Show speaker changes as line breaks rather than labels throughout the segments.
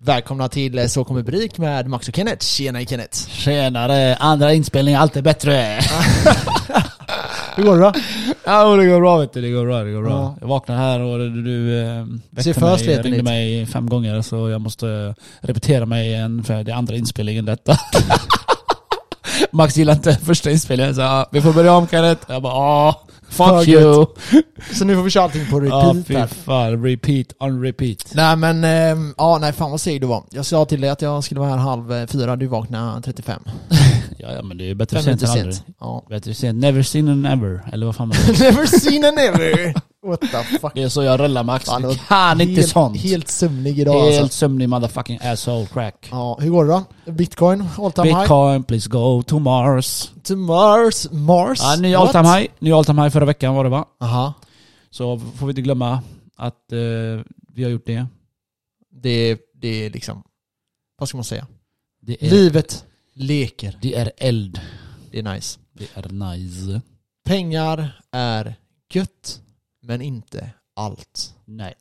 Välkomna till eh, Så kommer Brik med Max och Kenneth. Tjena Kenneth!
Tjenare, andra inspelningar alltid bättre. Hur går det då?
Ja det går bra vet du, det går bra, det går
Ja. Jag vaknade här och du, du eh,
Se
väckte mig,
förhetsligheten
ringde
dit.
mig fem gånger så jag måste eh, repetera mig igen för det är andra inspelningen detta. Max gillade inte första inspelningen så ah, vi får börja om Kenneth. Jag bara ah, fuck
Fuck
you.
Så nu får vi köra allting på
Ja
repeat
fy
här.
fan, repeat on repeat.
Nej men, ehm, ja nej fan vad seg du var. Jag sa till dig att jag skulle vara här halv eh, fyra, du vaknade 35.
Ja, ja men det är bättre
Fem
sent
minuter
än aldrig.
sent. Ja.
Bättre sent, never seen and ever. Eller vad fan man säger.
Never seen and never! What the fuck?
Det är så jag rullar Max.
Fan, det
Du
var
kan inte
helt,
sånt.
Helt sömnig idag
Helt
alltså.
sömnig motherfucking asshole crack.
Ja, hur går det då? Bitcoin, all time high?
Bitcoin, please go to Mars.
To Mars, Mars?
Ja, ny all
What?
time high. Ny all time high förra veckan var det va?
Aha.
Så får vi inte glömma att eh, vi har gjort det.
Det, det är liksom, vad ska man säga?
Det är,
Livet leker.
det är eld.
Det är nice.
Det är nice.
Pengar är gött, men inte allt.
Nej.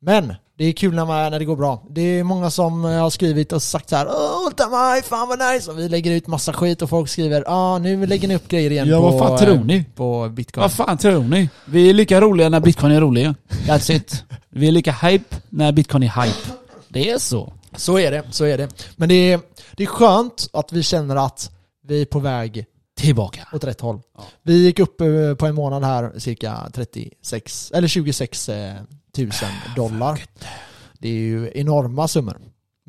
Men det är kul när, man, när det går bra. Det är många som eh, har skrivit och sagt så här Åh, Ulta mig, fan vad nice! Och vi lägger ut massa skit och folk skriver ah, nu lägger ni upp grejer igen
Ja,
på,
vad fan tror
eh,
ni?
på bitcoin.
Vad fan tror ni? Vi är lika roliga när bitcoin är roliga. That's it. Vi är lika hype när bitcoin är hype. Det är så.
Så är det, så är det. Men det är, det är skönt att vi känner att vi är på väg
Tillbaka.
åt rätt håll.
Ja.
Vi gick upp eh, på en månad här cirka 36, eller 26 eh, tusen
Ah,
dollar. Det är ju enorma summor.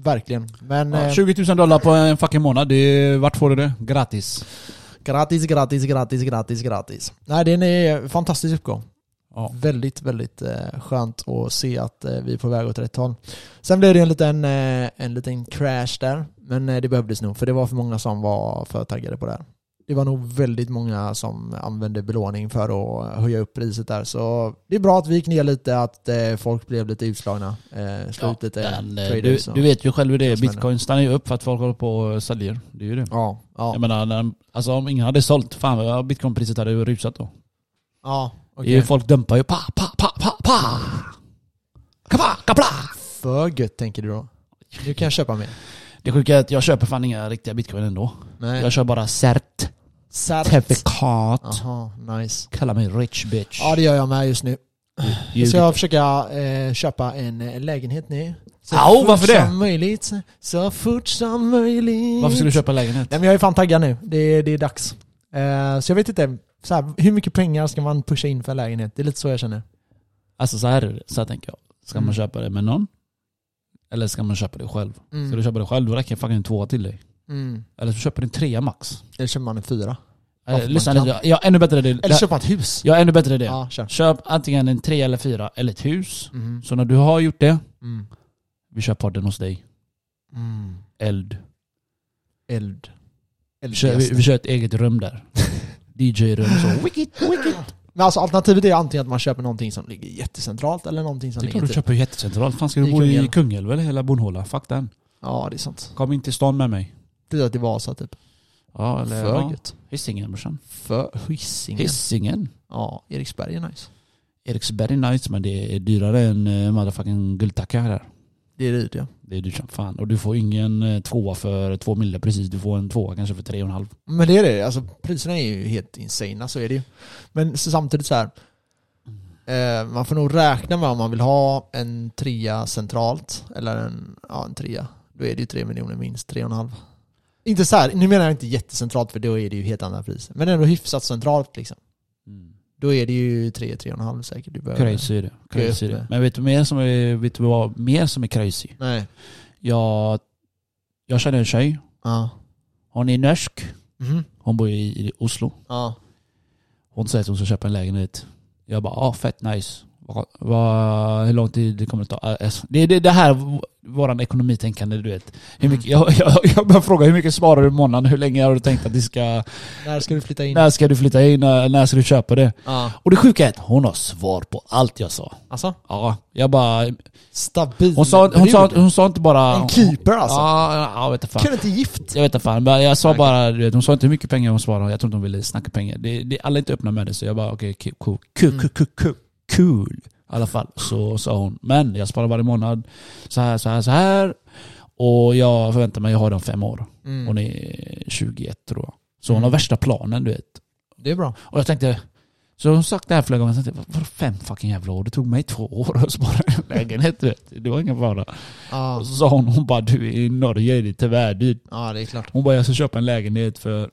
Verkligen. Men
Ja,
eh,
20 000 dollar på en fucking månad. Det är, vart får du det? Gratis.
gratis, gratis, gratis, gratis, gratis. Nej, det är en eh, fantastisk uppgång.
Ja.
Väldigt, väldigt eh, skönt att se att eh, vi är på väg åt rätt håll. Sen blev det en liten, eh, en liten crash där, men eh, det behövdes nog för det var för många som var för taggade på det här. Det var nog väldigt många som använde belåning för att höja upp priset där. Så det är bra att vi gick ner lite, att eh, folk blev lite utslagna. Eh, slog ut lite
men, eh, du,
traders. och-
du vet ju själv hur det är.
Vad som händer.
Bitcoin stannar ju upp för att folk håller på och säljer. Det är ju det.
Ja, ja,
Jag menar, när, alltså om ingen hade sålt, fan vad bitcoinpriset hade ju rusat då.
ja.
Det är
okej.
ju folk dumpar ju pa, pa, pa, pa, pa! Kapa, kapla!
För gött tänker du då? Nu kan jag köpa mer.
Det sjuka är att jag köper fan inga riktiga bitcoin ändå.
Nej.
Jag kör bara cert,
Särskilt.
certifikat.
Aha, nice.
Kalla mig rich bitch.
Ja, det gör jag med just nu.
Ljuger.
Ska jag försöka eh, köpa en eh, lägenhet nu? Så
Au,
fort
varför det?
som möjligt. Så fort som möjligt.
Varför ska du köpa en lägenhet?
Nej men jag är fan taggad nu. Det, är- det är dags. Eh, så jag vet inte, så här, hur mycket pengar ska man pusha in för en lägenhet? Det är lite så jag känner.
Alltså så här är det, så här tänker jag. Ska
Mm.
man köpa det med någon? Eller ska man köpa det själv?
Mm.
Ska du köpa det själv, då räcker fucking en tvåa till dig.
Mm.
Eller så köper du en trea max.
Eller köper man en fyra? Ja,
Eh,
man
Lyssna,
kan.
jag jag är ännu bättre än det.
Eller köper man ett hus?
Jag är ännu bättre än det.
Ja, kör.
Köp antingen en tre eller fyra eller ett hus.
Mm.
Så när du har gjort det,
Mm.
vi kör podden hos dig.
Mm.
Eld.
Eld.
Vi kör, vi, vi kör ett eget rum där. DJ-rum så. Wicked, wicked.
Men alltså alternativet är antingen att man köper någonting som ligger jättecentralt eller någonting som
Det är
ligger...
klart du
typ-
köper ju jättecentralt. Fan ska du
I
bo i
Kungälv.
Kungälv eller hela Bornholm? Fuck den.
Ja, det är sant.
Kom inte till stan med mig.
Flytta till Vasa typ.
Ja, eller...
För
Ja.
gött.
Hisingen brorsan.
För Hisingen.
Hisingen.
Ja, Eriksberg är nice.
Eriksberg är nice men det är dyrare än eh, motherfucking Guldtacka här.
Det är dyrt ja.
Det är dyrt som fan. Och du får ingen eh, tvåa för två mille precis. Du får en tvåa kanske för tre och en halv.
Men det är det, alltså priserna är ju helt insana, så är det ju. Men så samtidigt så här. Eh, man får nog räkna med om man vill ha en trea centralt, eller en, ja, en trea. Då är det ju tre miljoner minst, tre och en halv. Inte så här, nu menar jag inte jättecentralt för då är det ju helt andra priser. Men ändå hyfsat centralt liksom.
Mm.
Då är det ju tre, tre och en halv säkert. Du behöver.
Crazy är det. Crazy är
Köp det.
det. Men vet du, mer som är, vet du vad mer som är crazy?
Nej.
Jag, jag känner en tjej.
Ja.
Hon är norsk.
Mhm.
Hon bor i, i Oslo.
Ja.
Hon säger att hon ska köpa en lägenhet. Jag bara, ah fett nice. Vad- vad- hur lång tid det kommer att ta? Ah, alltså, Det är det, det här v- våran ekonomitänkande du vet. Hur mycket, jag, jag, jag börjar fråga hur mycket sparar du i månaden? Hur länge har du tänkt att du ska...
När ska du flytta in?
När ska du flytta in? När, när ska du köpa det?
Ja.
Och det sjuka är att hon har svar på allt jag sa.
Alltså?
Ja, jag bara...
Stabil.
Hon sa, hon sa, hon sa inte bara...
En keeper alltså.
Ja, ja, jag vet inte fan.
Kan du inte gift?
Jag vet inte fan, men jag sa bara, du vet, hon sa inte hur mycket pengar hon svarade, jag tror inte hon ville snacka pengar. Det, det, alla är inte öppna med det, så jag bara okej, okay, cool, cool, cool, cool, cool, cool. I alla fall, så sa hon. Men jag sparar varje månad, så här, så här, så här. Och jag förväntar mig att jag har den fem år.
Mm.
Hon är 21 tror jag. Så hon
Mm.
har värsta planen du vet.
Det är bra.
Och jag tänkte, så hon sagt det här flera gånger, jag tänkte, vadå fem fucking jävla år? Det tog mig två år att spara en lägenhet du vet. Det var ingen fara.
Ja,
Och så sa hon, hon bara du i Norge är det tyvärr dyrt.
ja det är klart.
Hon bara jag ska köpa en lägenhet för,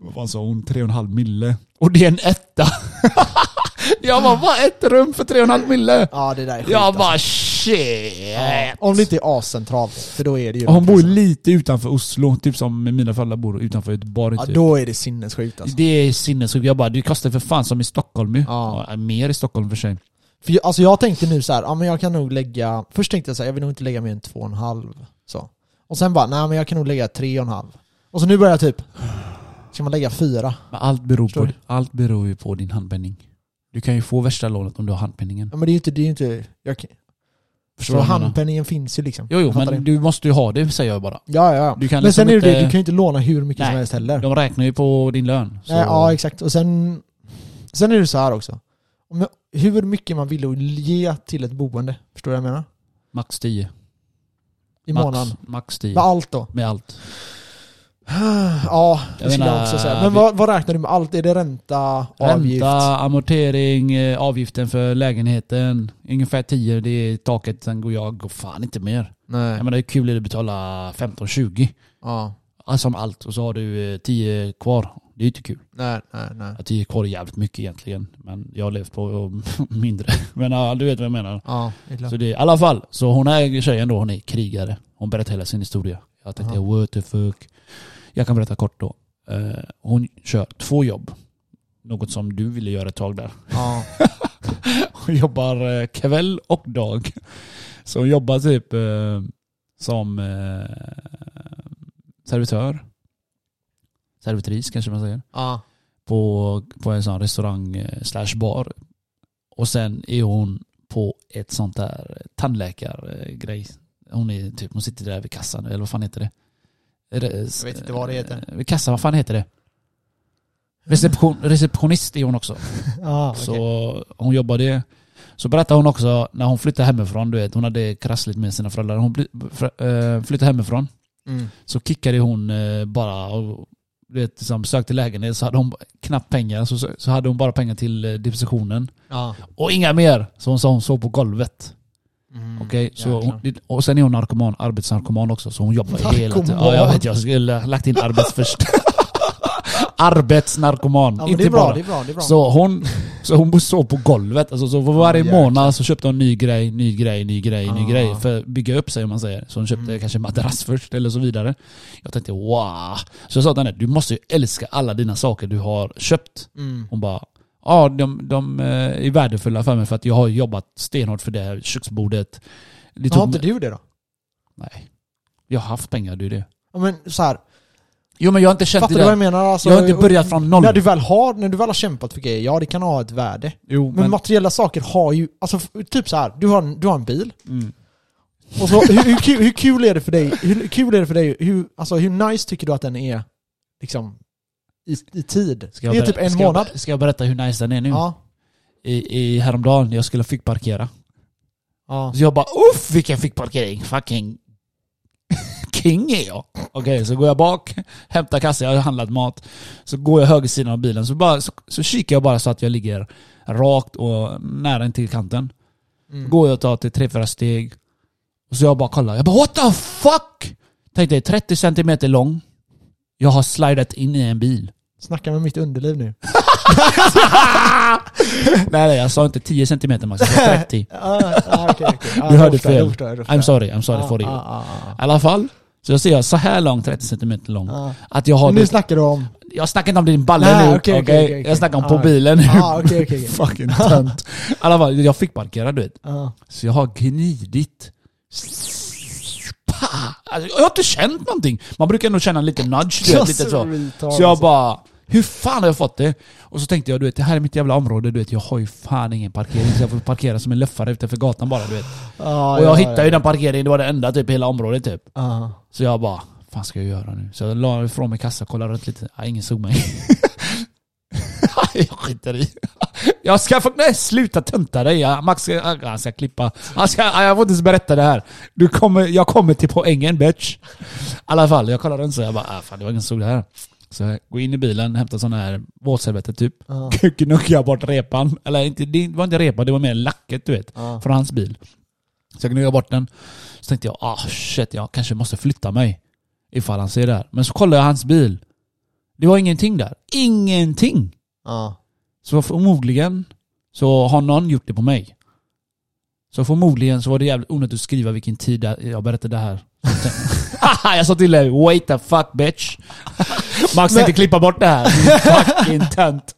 vad fan sa hon, tre och en halv mille. Och det är en etta. jag bara, vad ett rum för tre och en halv mille?
Ja, det där är skit
Jag
alltså.
bara shit.
Ja, Om det inte är ascentralt, för då är det ju... liksom-
Och hon bor lite utanför Oslo, typ som mina föräldrar bor utanför Göteborg.
Ja,
typ.
då är det sinnessjukt alltså.
Det är sinnessjukt. Jag bara, det kostar för fan som i Stockholm ju.
Ja.
Ja, mer i Stockholm för sig.
För jag, alltså jag tänkte nu så här, ja men jag kan nog lägga... Först tänkte jag så här, jag vill nog inte lägga mer än två och en halv. Så. Och sen bara, nej men jag kan nog lägga tre och en halv. Och så nu börjar jag typ, ska man lägga fyra?
Men allt beror,
Förstår
på,
du?
allt beror ju på din handpenning. Du kan ju få värsta lånet om du har handpenningen.
Ja men det är ju inte, det är ju inte... Jag, kan-
Förstår
så
du vad jag menar?
handpenningen finns ju liksom.
Jo, jo
Jag fattar
men
det.
du måste ju ha det säger jag bara.
Ja, ja, ja.
Du kan
men
liksom
sen är det ju det,
inte-
du kan ju inte låna hur mycket som
Nej.
helst heller.
De räknar ju på din lön. Så.
Nej, ja, exakt. Och sen, sen är det så här också. Om jag, hur mycket man vill ge till ett boende, förstår du vad jag menar?
Max 10.
I
max,
månaden.
Max 10.
Med allt då?
Med allt.
Ja, det
Jag
skulle jag
menar,
också säga. Men
vi-
vad, vad räknar du med allt? Är det ränta, avgift?
Ränta, amortering, eh, avgiften för lägenheten. Ungefär 10, det är taket. Sen går jag, går fan inte mer.
Nej.
Jag menar hur kul är det att betala 15-20?
Ja.
Alltså om allt och så har du eh, 10 kvar. Det är ju inte kul.
Nej, nej, nej.
Ja, 10 kvar är jävligt mycket egentligen. Men jag har levt på mindre. Men ja, du vet vad jag menar.
Ja, det är klart.
Så det, i alla fall, så hon är tjejen då, hon är krigare. Hon berättar hela sin historia. Jag tänkte,
Aha.
what the fuck. Jag kan berätta kort då. Eh, hon kör två jobb. Något som du ville göra ett tag där.
Ja.
Hon jobbar eh, kväll och dag. Så hon jobbar typ eh, som eh, servitör. Servitris kanske man säger.
ja.
På, på en sån restaurang eh, slash bar. Och sen är hon på ett sånt där tandläkargrej. Hon är typ, hon sitter där vid kassan, eller vad fan heter det? Är det-
Jag vet inte vad det heter.
Vid kassan, vad fan heter det? Reception, receptionist är hon också.
Ja, okej.
Så hon jobbade. Så berättade hon också när hon flyttade hemifrån, du vet, hon hade krassligt med sina föräldrar. Hon bli- fr- eh, flyttade hemifrån,
Mm.
så kickade hon eh, bara och du vet, liksom, sökte lägenhet så hade hon knappt pengar. Så, så hade hon bara pengar till eh, depositionen.
Ja.
Och inga mer! Så hon sa hon sov på golvet.
Mm.
Okej, så
Jäklar.
hon, och sen är hon narkoman, arbetsnarkoman också, så hon jobbar ju hela tiden.
Narkoman?
Ja, jag vet, jag skulle ha lagt in arbets först. Arbetsnarkoman,
Ja, men det
inte
är bra,
bara.
det är bra, det är bra.
Så hon, så hon sov på golvet. Alltså, så för varje
Ja, Ah, jäklar.
månad så köpte hon ny grej, ny grej, ny grej,
Ah.
ny grej. För att bygga upp sig om man säger. Så hon köpte
Mm.
kanske en madrass först eller så vidare. Jag tänkte wow. Så jag sa till henne, du måste ju älska alla dina saker du har köpt.
Mm.
Hon bara, ja de, de eh, är värdefulla för mig för att jag har jobbat stenhårt för det här köksbordet. Det
Har
tog
inte
mig,
du det då?
nej. Jag har haft pengar, du det.
Ja, men så här.
Jo men jag har inte känt
Fattar
det
du vad jag
där.
menar? Alltså,
Jag har inte börjat från noll.
När du väl har, när du väl har kämpat för grejer, ja det kan ha ett värde.
Jo,
Men, materiella saker har ju, alltså f- typ så här, du har en, du har en bil.
mm.
Och så, hur, hur, kul, hur kul är det för dig, hur kul är det för dig, hur, alltså hur nice tycker du att den är liksom i, i tid?
Ska jag
det är
ber-
typ en
ska jag- Mm.
månad.
Ska jag berätta hur nice den är nu?
Ja.
i, i häromdagen när jag skulle fick parkera.
Ja.
Så jag bara uff vilken fick parkering. Fucking king är jag. Okej, så går jag bak, hämtar kassan, jag har handlat mat. Så går jag höger sidan av bilen, så, bara, så, så kikar jag bara så att jag ligger rakt och nära till kanten.
Mm.
Går jag och tar till tre, fyra steg. Och så jag bara kollar, jag bara what the fuck! Tänk dig 30 centimeter lång. Jag har slidat in i en bil.
Snacka med mitt underliv nu.
nej, nej, jag sa inte 10 centimeter max, jag sa 30.
Ah, ah, okej, okej. Ah,
Du
jag
hörde
förstår, jag
fel.
förstår, jag förstår.
I'm sorry, I'm sorry for you.
Ah, ah, ah,
I alla fall, så jag ser jag så här lång, 30 cm lång.
ah. Ah.
Att jag har...
Men nu snackar du om...
jag snackar inte om din balle
Nej,
nu,
okej,
okej?
okej, okej, okej.
Jag snackar om
Ah.
på bilen nu.
Ah, okej, okej, okej.
Fucking tönt. I alla fall, jag fick parkera du vet.
Ah.
Så jag har gnidit. Pa! Alltså, jag har inte känt någonting. Man brukar ändå känna lite nudge, du vet, lite så.
retard,
Så jag
alltså.
bara, hur fan har jag fått det? Och så tänkte jag, du vet, det här är mitt jävla område, du vet, jag har ju fan ingen parkering. Så jag får parkera som en luffare utanför gatan bara, du vet.
Ah,
Och jag
ja,
hittade
ja.
ju den parkeringen, det var det enda typ i hela området typ.
Ah.
Så jag bara, fan ska jag göra nu? Så jag la ifrån mig kassa, kollade runt lite. Nej, ingen såg mig. jag skiter i. Jag ska få... Nej, sluta tönta dig. Jag- Max ska, han ska klippa. Han ska, jag får inte ens berätta det här. Du kommer, jag kommer till poängen bitch. I alla fall, jag kollade inte så jag bara, ah, fan det var ingen som såg det här. Så jag går in i bilen, hämtar sån här våtservetter typ.
Ja.
Gnuggar bort repan. Eller inte, det var inte repan, det var mer lacket du vet.
Ja.
Från hans bil. Så jag gnuggade bort den. Så tänkte jag, ah shit, jag kanske måste flytta mig. Ifall han ser det här. Men så kollade jag hans bil. Det var ingenting där. Ingenting!
Ja.
Så förmodligen så har någon gjort det på mig. Så förmodligen så var det jävligt onödigt att skriva vilken tid jag berättade det här. Haha, jag sa till dig wait the fuck bitch. Max
Men-
inte klippa bort det här. din Fucking tönt.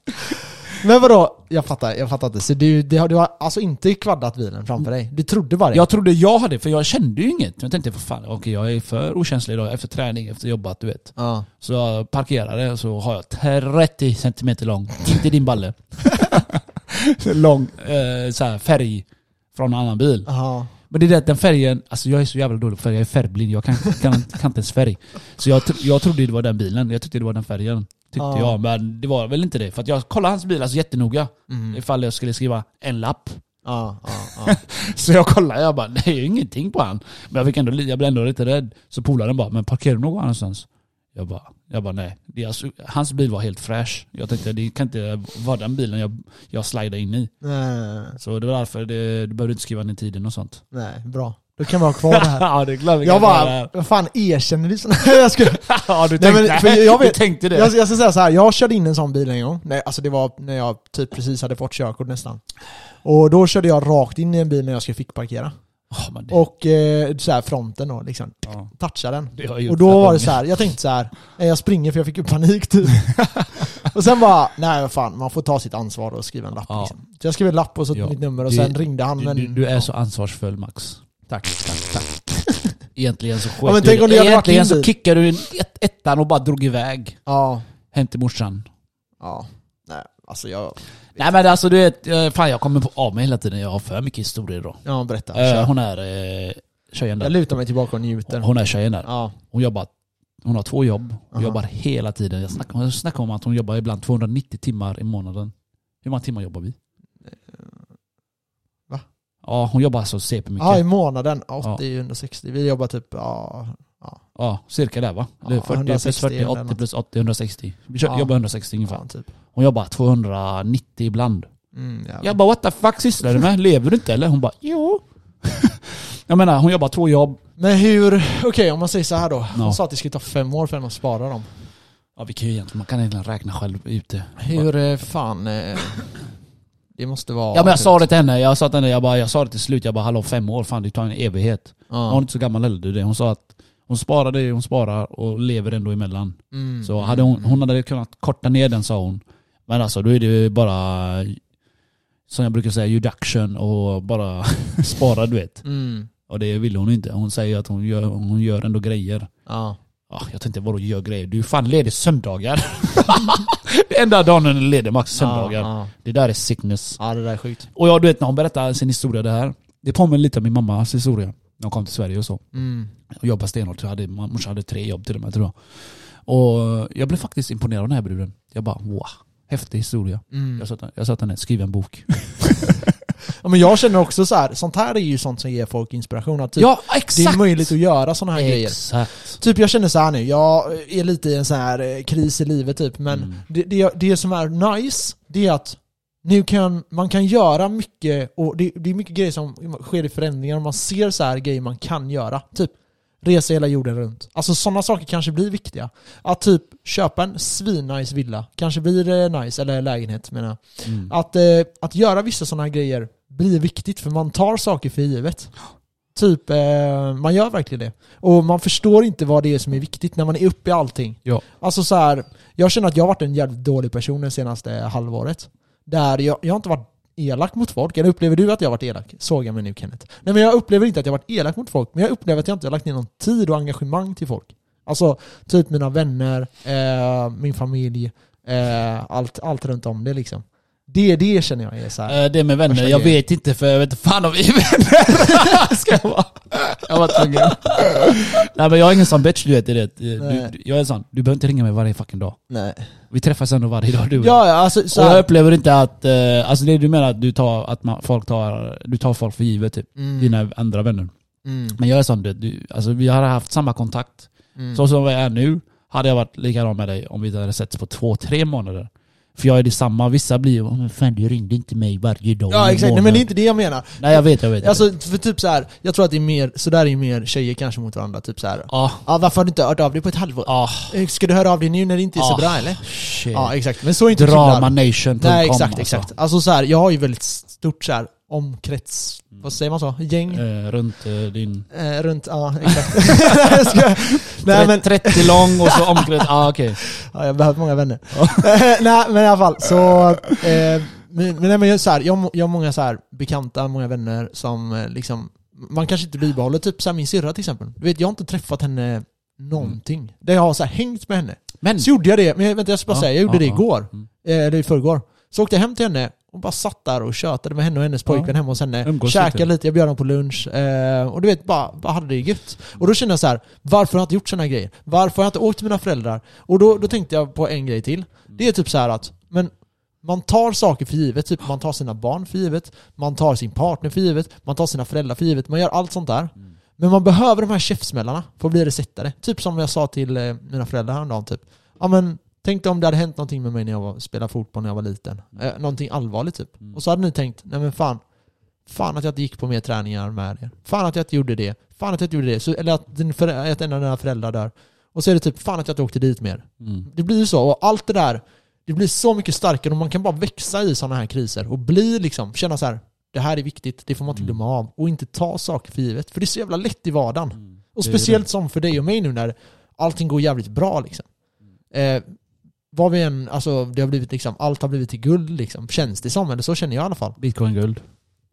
Men vadå? Jag fattar, jag fattar inte. Så du, det har, du har alltså inte kvaddat bilen framför dig? Du trodde bara det?
Jag trodde jag hade för jag kände ju inget. Jag tänkte för fan, okej jag är för okänslig idag efter träning, efter jobbat du vet.
Ja.
Så jag parkerade och så har jag 30 centimeter lång, inte din balle. lång eh, så här färg från en annan bil.
Aha.
Men det är det att den färgen, alltså jag är så jävla dålig på färg, jag är färgblind, jag kan, kan, kan inte ens färg. Så jag, tro- jag trodde det var den bilen, jag tyckte det var den färgen. Tyckte
Ja.
jag, men det var väl inte det. För att jag kollade hans bil alltså jättenoga,
Mm.
ifall jag skulle skriva en lapp.
Ja, ja, ja.
Så jag kollade, jag bara, det är ju ingenting på han. Men jag, fick ändå, li- jag blev ändå lite rädd. Så polaren bara, men parkerar du någon annanstans? Jag bara, jag bara nej. Det är alltså, hans bil var helt fräsch. Jag tänkte, det kan inte vara den bilen jag, jag slidade in i.
nej,
Så det var därför, det, du behövde inte skriva ner tiden och sånt.
nej, bra. Då kan vi ha kvar det här.
ja, det glömde
Jag
det här.
bara, vad fan erkänner vi sådana här? Jag skulle,
Ja, du
Nej,
tänkte,
men, för jag vet-
du tänkte det.
Jag, jag ska säga så här, jag körde in en sån bil en gång. Nej, alltså det var när jag typ precis hade fått körkort nästan. Och då körde jag rakt in i en bil när jag skulle fickparkera.
Ja, men det,
Och eh, så här fronten då liksom,
ja,
touchade den.
det har jag gjort
Och då
flera
var
gånger.
det så här, jag tänkte så här, nej, jag springer för jag fick ju panik typ. och sen bara, nej vad fan, man får ta sitt ansvar och skriva en lapp
Ja.
liksom. Så jag skrev en lapp och så
Ja.
mitt nummer och
Du-
sen ringde han.
Du,
Men,
du, du är så ansvarsfull Max. Tack, tack, tack. Egentligen så sket
men
du
tänk
i
om det
det.
hade varit
Egentligen
din
så
bil.
kickade du in ett, ettan och bara drog iväg
Ja,
hem till morsan.
ja. Nej, alltså jag...
Nej men alltså du vet, eh, fan jag kommer på av mig hela tiden. Jag har för mycket historier då.
Ja, berätta.
Eh,
Kör.
Hon är eh, tjejen
Jag
där.
lutar mig tillbaka och njuter.
Hon är tjejen där.
Ja.
Hon jobbar, hon har två jobb. Hon
Aha.
jobbar hela tiden. Jag snackar, jag snackar om att hon jobbar ibland 290 timmar i månaden. Hur många timmar jobbar vi?
Eh, va?
Ja, hon jobbar alltså CP-mycket.
Ja, i månaden.
Ja.
80, 160. Vi jobbar typ, ja,
Ja, cirka där va? Eller
Ja,
40 plus
160
40,
eller
80
något.
plus 80, 160. Vi kör,
Ja.
jobbar 160 ungefär.
fan typ.
Hon jobbar 290 ibland.
Mm, jävlar.
Jag bara what the fuck sysslar du med? Lever du inte eller? Hon bara jo. jag menar hon jobbar två jobb.
Men hur, okej om man säger så här då.
Ja.
Hon sa att det skulle ta fem år för henne att spara dem.
Ja vi kan ju egentligen, man kan egentligen räkna själv ut det.
Hur eh, fan, eh, det måste vara...
Ja men jag sa det till henne, jag sa till henne, jag, bara, jag sa det till slut, jag bara hallå fem år, fan det tar en evighet.
Ja.
Hon är inte så gammal heller du det. Hon sa att hon sparar det hon sparar och lever ändå emellan.
Mm.
Så hade hon, hon hade kunnat korta ner den sa hon. Men alltså då är det ju bara som jag brukar säga, deduction och bara spara du vet.
Mm.
Och det vill hon inte. Hon säger att hon gör, hon gör ändå grejer.
Ja.
Ah, jag tänkte vadå gör grejer? Du är fan ledig söndagar. det enda dagen hon är ledig max söndagar.
Ja,
Det där är sickness.
ja. ja, det där är sjukt.
Och jag du vet när hon berättar sin historia det här. Det påminner lite om min mammas historia. När hon kom till Sverige och så.
Mm.
Och jobbade stenhårt. Jag hade, morsan hade tre jobb till och med tror jag. Och jag blev faktiskt imponerad av den här bruden. Jag bara wow, häftig historia.
Mm.
Jag sa till- jag sa till henne, skriv en bok.
Ja, men jag känner också så här, sånt här är ju sånt som ger folk inspiration. Att typ,
ja
det
exakt!
är möjligt att göra såna här grejer.
Exakt.
Typ jag känner så här nu, jag är lite i en sån här eh, kris i livet typ, men
Mm.
det, det, det som är nice, det är att nu kan man kan göra mycket och det, det är mycket grejer som sker i förändringar och man ser så här grejer man kan göra. Typ resa hela jorden runt. Alltså sådana saker kanske blir viktiga. Att typ köpa en svinnice villa kanske blir eh, nice, eller lägenhet menar jag.
Mm.
Att, eh, att göra vissa sådana här grejer blir viktigt för man tar saker för givet. Typ, eh, man gör verkligen det. Och man förstår inte vad det är som är viktigt när man är uppe i allting.
Ja.
Alltså så här, jag känner att jag har varit en jävligt dålig person det senaste halvåret. Där jag, jag har inte varit elak mot folk. Eller upplever du att jag har varit elak? Såg jag mig nu Kenneth. Nej men jag upplever inte att jag har varit elak mot folk. Men jag upplever att jag inte har lagt ner någon tid och engagemang till folk. Alltså typ mina vänner, eh, min familj, eh, allt, allt runt om det liksom. Det, det känner jag är så här.
Eh, Det med vänner,
Första
jag
grejen.
vet inte för jag vet inte fan om vi är vänner. Ska jag vara. Jag var tvungen. Nej men jag är ingen sån bitch du vet. Det. är det. Du,
Nej.
du, jag är sån, du behöver inte ringa mig varje fucking dag.
Nej.
Vi träffas ändå varje dag du och jag.
Ja, ja, alltså så
Och jag
här.
upplever inte att, eh, alltså det du menar att du tar, att man, folk tar, du tar folk för givet typ.
Mm,
Dina andra vänner.
mm,
Men jag är sån, du, du, alltså vi har haft samma kontakt.
mm.
Så som vi är nu, hade jag varit likadan med dig om vi inte hade setts på två, tre månader. För jag är detsamma, vissa blir ju "Åh, men fan du ringde inte mig varje dag.
Ja
i
exakt, nej, men
månaden."
det är inte det jag menar.
Nej jag vet, jag vet.
Alltså för typ så här, jag tror att det är mer, sådär är mer tjejer kanske mot varandra, typ så här.
Ja.
Ja varför har du inte hört av dig på ett halvår?
Ah,
Eh, Ska du höra av dig nu när det inte är så
Ah,
bra eller?
shit.
Ja exakt, men så är inte killar.
Dramanation.com
Nej exakt, exakt.
Alltså.
Alltså så här, jag har ju väldigt stort så här omkrets, vad säger man så? Gäng?
Mm. Eh, runt eh, din...
Eh, runt, ja exakt. Jag skojar. Nej men,
30 lång och så omkrets... Ah, okej.
ja, jag behöver många vänner. Eh, Nej men i alla fall, så... Eh, men, men nej, men jag, så här, jag, har må- jag har många så här, bekanta, många vänner som eh, liksom... Man kanske inte bibehåller, typ så här, min syrra till exempel. Du vet, jag har inte träffat henne någonting.
Mm.
Där jag har så här, hängt med henne.
Men...
Så gjorde jag det, men jag- vänta jag ska bara
Ja,
säga, jag gjorde
ja,
det
ja.
igår.
Mm.
Eh, Eller i förrgår. Så åkte jag hem till henne, hon bara satt där och tjötade med henne och hennes
Ja.
pojkvän hemma hos henne.
Umgås
Käkade
lite.
lite, jag bjöd dem på lunch. Eh, och du vet, bara, bara hade det gött. Och då kände jag så här, varför har jag inte gjort sådana grejer? Varför har jag inte åkt till mina föräldrar? Och då, då tänkte jag på en grej till. Det är typ så här att, men man tar saker för givet, typ man tar sina barn för givet, man tar sin partner för givet, man tar sina föräldrar för givet, man gör allt sånt där.
Mm.
Men man behöver de här käftsmällarna för att bli resettare. Typ som jag sa till eh, mina föräldrar häromdagen, typ. Ja men, tänk dig om det hade hänt någonting med mig när jag var, spelade fotboll när jag var liten. Eh, någonting allvarligt typ.
Mm.
Och så hade ni tänkt, nej men fan, fan att jag inte gick på mer träningar med er. Fan att jag inte gjorde det. Fan att jag inte gjorde det. Så, eller att, din förä- att en av dina föräldrar dör. Och så är det typ, fan att jag inte åkte dit mer.
Mm.
Det blir ju så, och allt det där, det blir så mycket starkare och man kan bara växa i sådana här kriser och bli liksom, känna så här, det här är viktigt, det får man inte
Mm.
glömma av och inte ta saker för givet. För det är så jävla lätt i vardagen.
Mm.
Och
Det är ju
speciellt som för dig och mig nu när allting går jävligt bra liksom. Eh, vad vi än, alltså det har blivit liksom, allt har blivit till guld liksom, känns det som, eller så känner jag i alla fall.
det. Bitcoin-guld.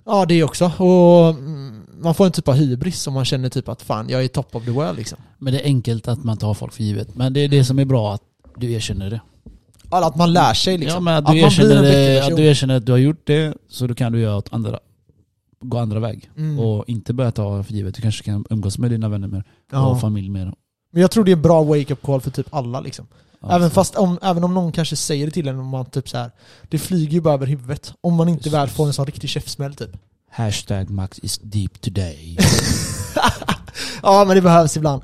Ja det också, och mm, man får en typ av hybris om man känner typ att fan, jag är top of the world liksom.
Men det är enkelt att man tar folk för givet. Men det är det som är bra, att du erkänner det.
Eller att man lär sig liksom.
Ja, men att
man
du,
blir en
erkänner,
bättre
det, att
version.
du erkänner att du har gjort det, så då kan du göra åt andra, gå andra väg.
Mm.
Och inte börja ta för givet. Du kanske kan umgås med dina vänner mer.
Ja.
Och familj mer.
Men jag tror det är en bra wake-up call för typ alla liksom.
Ja,
även,
så.
fast om, även om någon kanske säger det till en om man typ så här, det flyger ju bara över huvudet. Om man inte
Precis.
väl får en sån riktig käftsmäll typ.
Hashtag Max is deep today.
Ja men det behövs ibland.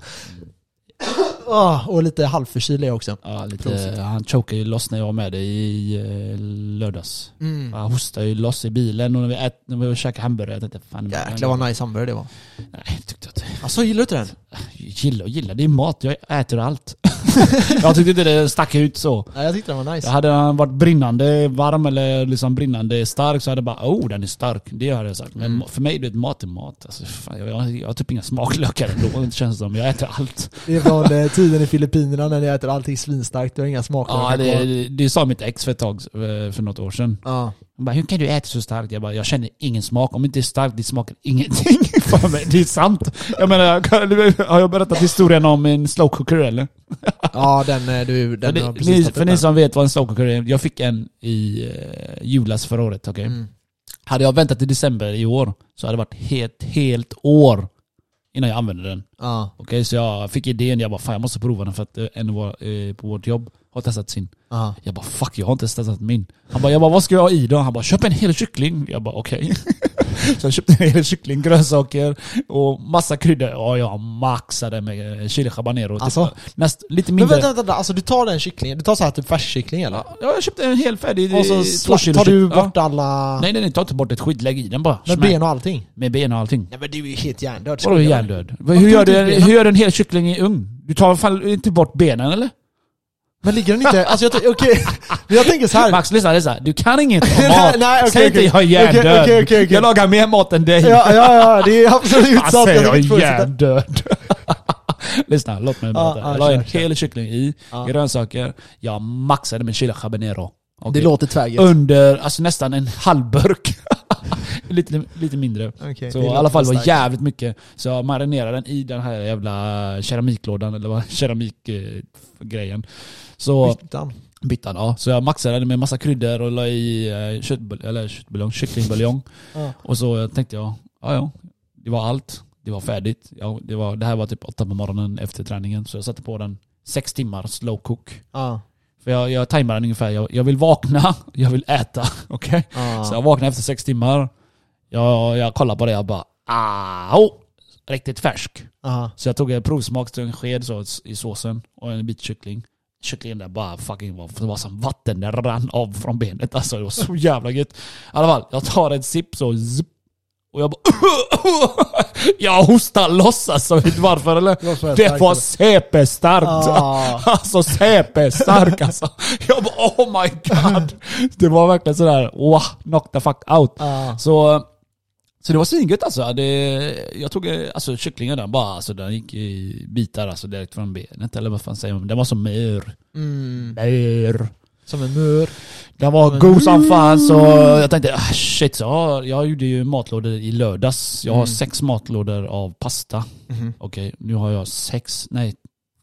Ah, och lite halvförkyld är jag också.
Ja, lite,
Prosit.
han chokade ju loss när jag var med dig i eh, lördags.
Mm.
Han hostade ju loss i bilen och när vi, ät, när vi käkade hamburgare, jag tänkte fan...
Jäklar vad nice hamburgare det var.
Nej, jag tyckte att...
Alltså gillar du inte den?
Gilla och gilla, det är mat. Jag äter allt. jag tyckte inte det stack ut så.
Nej jag tyckte den var nice.
Jag hade han varit brinnande varm eller liksom brinnande stark så hade jag bara oh den är stark. Det hade jag sagt. Men
Mm.
för mig du vet mat är mat. Alltså, fan, jag, jag, jag har typ inga smaklökar ändå. Det känns som jag äter allt.
Det är från eh, tiden i Filippinerna när ni äter allting svinstarkt, du har inga smaker.
Ja, det, det sa mitt ex för ett tag, eh, för något år sedan.
Ja.
Han bara, hur kan du äta så starkt? Jag bara, jag känner ingen smak. Om det inte är starkt, det smakar ingenting. Fan, men det är sant. Jag menar, kan- du- har jag berättat historien om en slow cooker eller?
ja den eh, du, den
för,
har
ni,
precis
ni,
tagit
för
upp
ni
den.
som vet vad en slow cooker är, jag fick en i eh, julas förra året. okej?
Mm.
Hade jag väntat till december i år så hade det varit helt, helt år innan jag använde den.
Ja,
Okej, så jag fick idén, jag bara fan jag måste prova den för att eh, en var, eh, på vårt jobb har testat sin.
ja.
Jag bara fuck, jag har inte ens testat min. Han bara, jag bara vad ska jag ha i då? Han bara köp en hel kyckling. Jag bara okej. så jag köpte en hel kyckling, grönsaker och massa kryddor. Ja, jag maxade med eh, chili habanero. Typ.
Alltså?
Näst, lite
Men
mindre.
vänta, vänta, vänta, alltså du tar den kycklingen, du tar så här typ färskyckling eller?
Ja, jag köpte en hel färdig.
Och
eh,
så
två
sla-
kilo
tar du
kyckling. Ja.
bort alla...
Nej nej nej, ta inte bort ett skit, lägg i den bara.
Med
Smack.
ben och allting?
med ben och allting.
Nej men du är ju helt hjärndöd.
Vadå
skojar du?
hjärndöd? Hur gör,
tog
du,
du benen?
hur gör du en hel kyckling i ugn? Du tar fan inte bort benen eller?
Men ligger den inte... Alltså jag, tänker- okej. Men jag tänker så här.
Max, lyssna, lyssna. Du kan inget om
Nej,
mat.
nej, okej,
Säg inte
okej.
jag är hjärndöd.
Okej, okej, okej, okej.
Jag lagar mer mat än dig.
Ja, ja, ja, det är absolut
Fan,
sant.
säger jag
tänker
är
inte fortsätta.
hjärndöd. lyssna, låt mig
Ja,
berätta.
ja,
jag la
kör,
en
kör.
hel kyckling i,
Ja.
grönsaker. Jag maxade med chili habanero. Okej.
Det låter tvärgött.
Under, alltså nästan en halv burk. lite, lite mindre.
Okej,
Så
det
i
låter
alla fall det var
starkt.
jävligt mycket. Så jag marinerade den i den här jävla keramiklådan, eller vad keramikgrejen. Så
Byttan.
bytte han, ja. Så jag maxade den med massa kryddor och la i eh, köttbul- eller köttbuljong, kycklingbuljong.
Ja.
Och så tänkte jag, ja ja, det var allt. Det var färdigt. Ja, det, var, det här var typ åtta på morgonen efter träningen. Så jag satte på den sex timmar slow cook.
Ja.
För jag, jag tajmar den ungefär. Jag, jag vill vakna, jag vill äta. Okej?
Ja.
Så jag vaknade efter sex timmar. Jag, jag kollade på det jag bara au! Riktigt färsk.
Ja.
Så jag tog en provsmak till en sked så, i såsen och en bit kyckling. Kycklingen där bara fucking var, det var som vatten, den rann av från benet. Alltså det var så jävla gött. I alla fall, jag tar en sipp så zup, och jag bara... jag hostar loss alltså, vet du varför eller?
var så här
Det
starkt,
var
eller?
CP-starkt!
Ah.
Alltså CP-stark alltså. Jag bara oh my god. Det var verkligen sådär, wow, knock the fuck out.
Ja.
Så, så det var svingött alltså. Det, jag tog eh, alltså, kycklingen den bara, alltså, den gick i bitar alltså, direkt från benet. Eller vad fan säger man? Den var som mör.
Mm.
Mör.
Som en mur.
Den var
Men-
god som fan så jag tänkte ah, shit, så, jag- jag gjorde ju matlådor i lördags. Jag har
Mm.
sex matlådor av pasta.
Mhm.
Okej, nu har jag sex, nej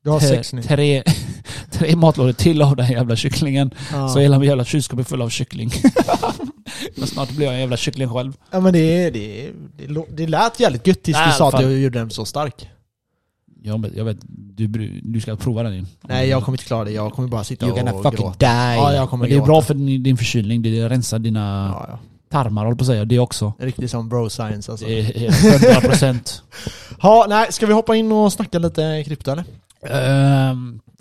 Du har sex nu.
tre, tre matlådor till av den jävla kycklingen.
Ja.
Så hela min jävla kylskåp är full av kyckling. Men snart blir jag en jävla kyckling själv.
Ja men det, det, det, lå- det lät jävligt gött tills
Nej,
du
i
sa
alla
att
fall.
du gjorde den så stark.
Jag vet, jag vet du, bry- du ska prova den in.
Nej jag kommer inte klara det, jag kommer bara sitta
You're
och
gonna fucking
gråta.
die.
Ja, jag kommer
Men det är
gråta.
bra för din, din förkylning, det rensar dina
Ja, Alltså. ja.
tarmar håller på att säga, det också.
En Riktig som bro science alltså.
Det är 100 procent.
Ja, nej, ska vi hoppa in och snacka lite krypto eller?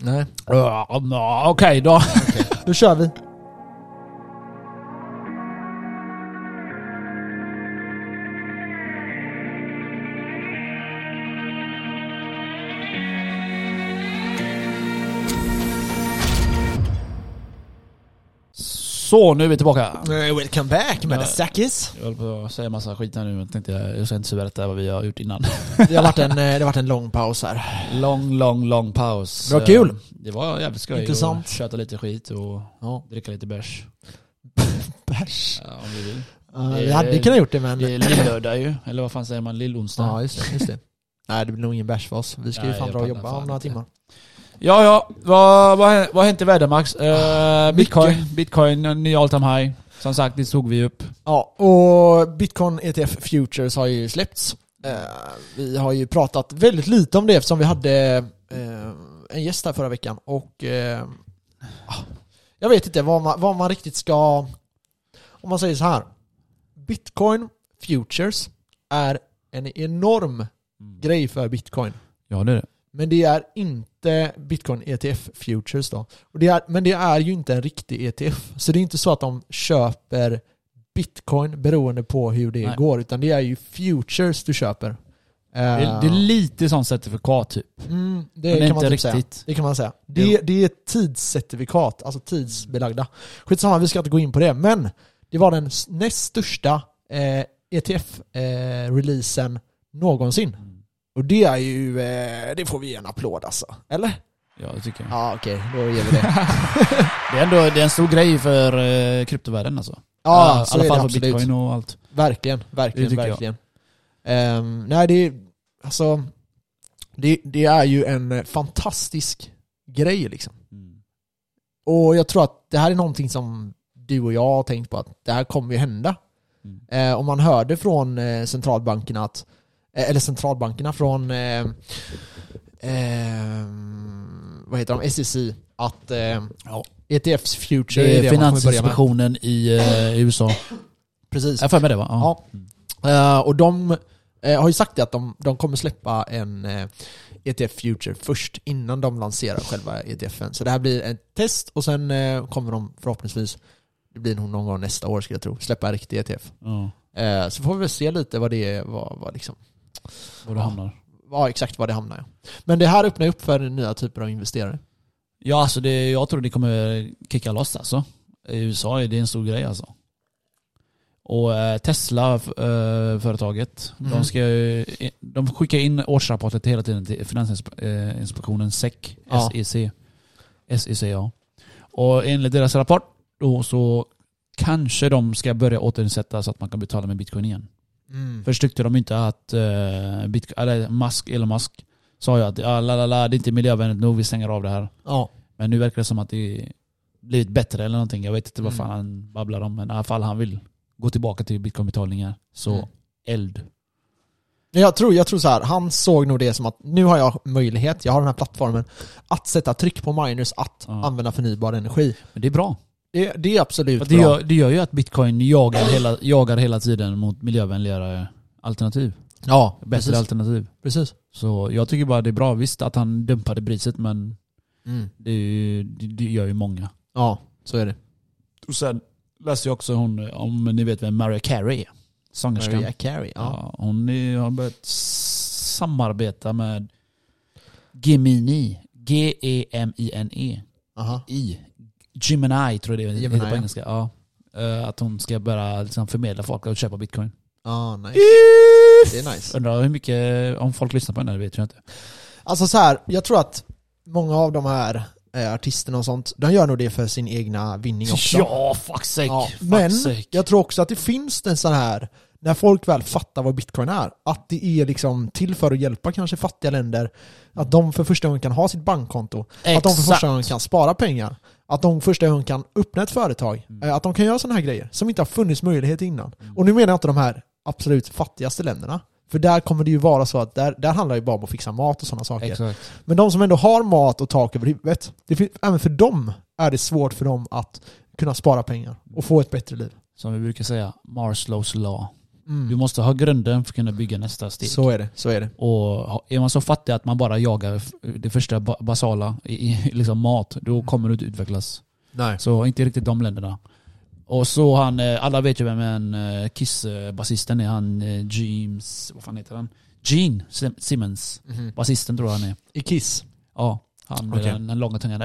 Nej.
Ehm, Okej då.
Då kör vi.
Så, nu är vi tillbaka.
Welcome back Madasakis.
Jag höll på att säga massa skit här nu, men jag tänkte jag, jag ska inte berätta vad vi har gjort innan.
Det har varit en, eh, det har varit en lång paus här.
Lång, lång, lång paus.
Det var kul.
Eh, Det var jävligt skoj.
Intressant.
att Köta lite skit och
Ja.
dricka lite bärs.
Bärs.
Ja, om vi vill.
Ja, vi hade kunnat gjort det men...
Det är lillördag ju, eller vad fan säger man? Lillonsdag.
Ja, just det. Just det. Nej, det blir nog ingen bärs för oss. Vi ska ju
Nej,
fan
jag
dra och
pallar
jobba
fan
om några
inte.
timmar.
Ja, ja. Vad, vad, vad har hänt i världen Max? Eh, Bitcoin, Bitcoin, en ny all time high. Som sagt, det såg vi upp.
Ja, och Bitcoin ETF Futures har ju släppts. Eh, vi har ju pratat väldigt lite om det eftersom vi hade eh, en gäst här förra veckan och eh, ah, jag vet inte vad man, vad man riktigt ska... Om man säger så här. Bitcoin Futures är en enorm grej för Bitcoin.
Mm. Ja, det är det.
Men det är inte Bitcoin ETF Futures då. Och det är, men det är ju inte en riktig ETF. Så det är inte så att de köper Bitcoin beroende på hur det
Nej.
går. Utan det är ju Futures du köper. Eh,
Det, det är lite sånt certifikat typ.
mm,
Men
det
det är
kan man
inte
typ säga.
riktigt.
Det kan man säga. Det,
Jo.
det är tidscertifikat, alltså tidsbelagda. Skitsamma, vi ska inte gå in på det. Men det var den s- näst största eh, ETF-releasen eh, någonsin.
Mm.
Och det är ju, eh, det får vi ge en applåd alltså. Eller?
Ja, det tycker jag.
Ja okej, då ger vi det.
Det är ändå det är en stor grej för eh, kryptovärlden alltså.
Ja,
Eh, I
så är
alla
det
fall för
absolut.
bitcoin och allt.
Verkligen,
Det
verkligen,
tycker jag.
verkligen. Ehm, nej det är, alltså, det, det är ju en eh, fantastisk grej liksom.
Mm.
Och jag tror att det här är någonting som du och jag har tänkt på att det här kommer ju hända.
Mm.
Eh, och man hörde från eh, centralbankerna att, eh, eller centralbankerna från eh, eh, vad heter de, SEC, att eh,
Ja.
ETFs future
Det är
man kommer börja med.
finansinspektionen i eh, USA.
Precis.
Jag får med det va?
Ja. Eh, och de eh, har ju sagt det att de, de kommer släppa en eh, ETF Future först innan de lanserar själva ETFen. Så det här blir ett test och sen eh, kommer de förhoppningsvis, det blir nog någon gång nästa år skulle jag tro, släppa en riktig ETF.
ja.
Eh, så får vi väl se lite vad det är, vad, vad liksom,
Var du hamnar.
vad, exakt var det hamnar. Ja. Men det här öppnar upp för nya typer av investerare.
Ja, alltså det, jag tror det kommer kicka loss alltså. I USA är det en stor grej alltså. Och eh, Tesla, f- eh, företaget,
Mm.
de, ska, ju- de skickar in årsrapporter till hela tiden till Finansinspektionen E SEC.
Ja.
E SEC. SEC ja. Och enligt deras rapport då så kanske de ska börja återinsätta så att man kan betala med bitcoin igen.
Mm.
Först tyckte de inte att eh, bitcoin, eller Musk, Elon Musk sa ju att ah, la, la, la, det är inte miljövänligt nog, vi stänger av det här.
Ja.
Men nu verkar det som att det blivit bättre eller någonting. Jag vet inte vad
Mm.
fan han babblar om. Men i alla fall han vill gå tillbaka till bitcoinbetalningar. Så
Mm.
eld.
Men Jag tror, jag tror så här, han såg nog det som att nu har jag möjlighet, jag har den här plattformen, att sätta tryck på miners att
Ja.
använda förnybar energi.
Men det är bra.
Det, det är absolut
För att
bra.
det, gör, det gör ju att bitcoin jagar hela, jagar hela tiden mot miljövänligare alternativ.
ja,
Bättre
precis.
alternativ.
precis.
Så jag tycker bara det är bra. Visst att han dumpade priset men
Mm.
det, är ju- det, det gör ju många.
Ja, så är det.
Och sen läste jag också hon, om ni vet vem Mariah Carey är. Sångerskan.
Mariah Carey, ja.
Ja, hon är, har börjat s- samarbeta med Gemini. E G-E-M-I-N-E.
Aha.
I. Gemini tror jag det
Gemini,
heter på
ja.
engelska. Ja. Eh, Att hon ska börja liksom förmedla folk att köpa bitcoin.
Ah, nice. Det är nice.
Undrar hur mycket, om folk lyssnar på henne, det vet jag inte.
Alltså så här, jag tror att många av de här eh, artisterna och sånt, de gör nog det för sin egna vinning också.
Ja, fuck sake!
Ja,
fuck
men
sake.
jag tror också att det finns en sån här, när folk väl fattar vad bitcoin är, att det är liksom till för att hjälpa kanske fattiga länder, att de för första gången kan ha sitt bankkonto, att de för
Exakt.
första gången kan spara pengar, att de för första gången kan öppna ett företag, eh, att de kan göra sådana här grejer som inte har funnits möjlighet innan. Och nu menar jag inte de här absolut fattigaste länderna, för där kommer det ju vara så att där, där handlar det ju bara om att fixa mat och sådana saker.
Exakt.
Men de som ändå har mat och tak över huvudet, det finns, även för dem är det svårt för dem att kunna spara pengar och få ett bättre liv.
Som vi brukar säga, Marslows law.
Mm.
Du måste ha grunden för att kunna bygga nästa steg.
Så är det, så är det.
Och ha- är man så fattig att man bara jagar f- det första ba- basala, i, i, liksom mat, då kommer du inte utvecklas.
Nej.
Så inte riktigt de länderna. Och så han, eh, alla vet ju vem en eh, Kiss-basisten är, han eh, James, vad fan heter han? Gene Sim- Simmons, basisten tror jag han är.
Mm-hmm. I Kiss.
Ja, han med
Okej.
den, den långa tungan.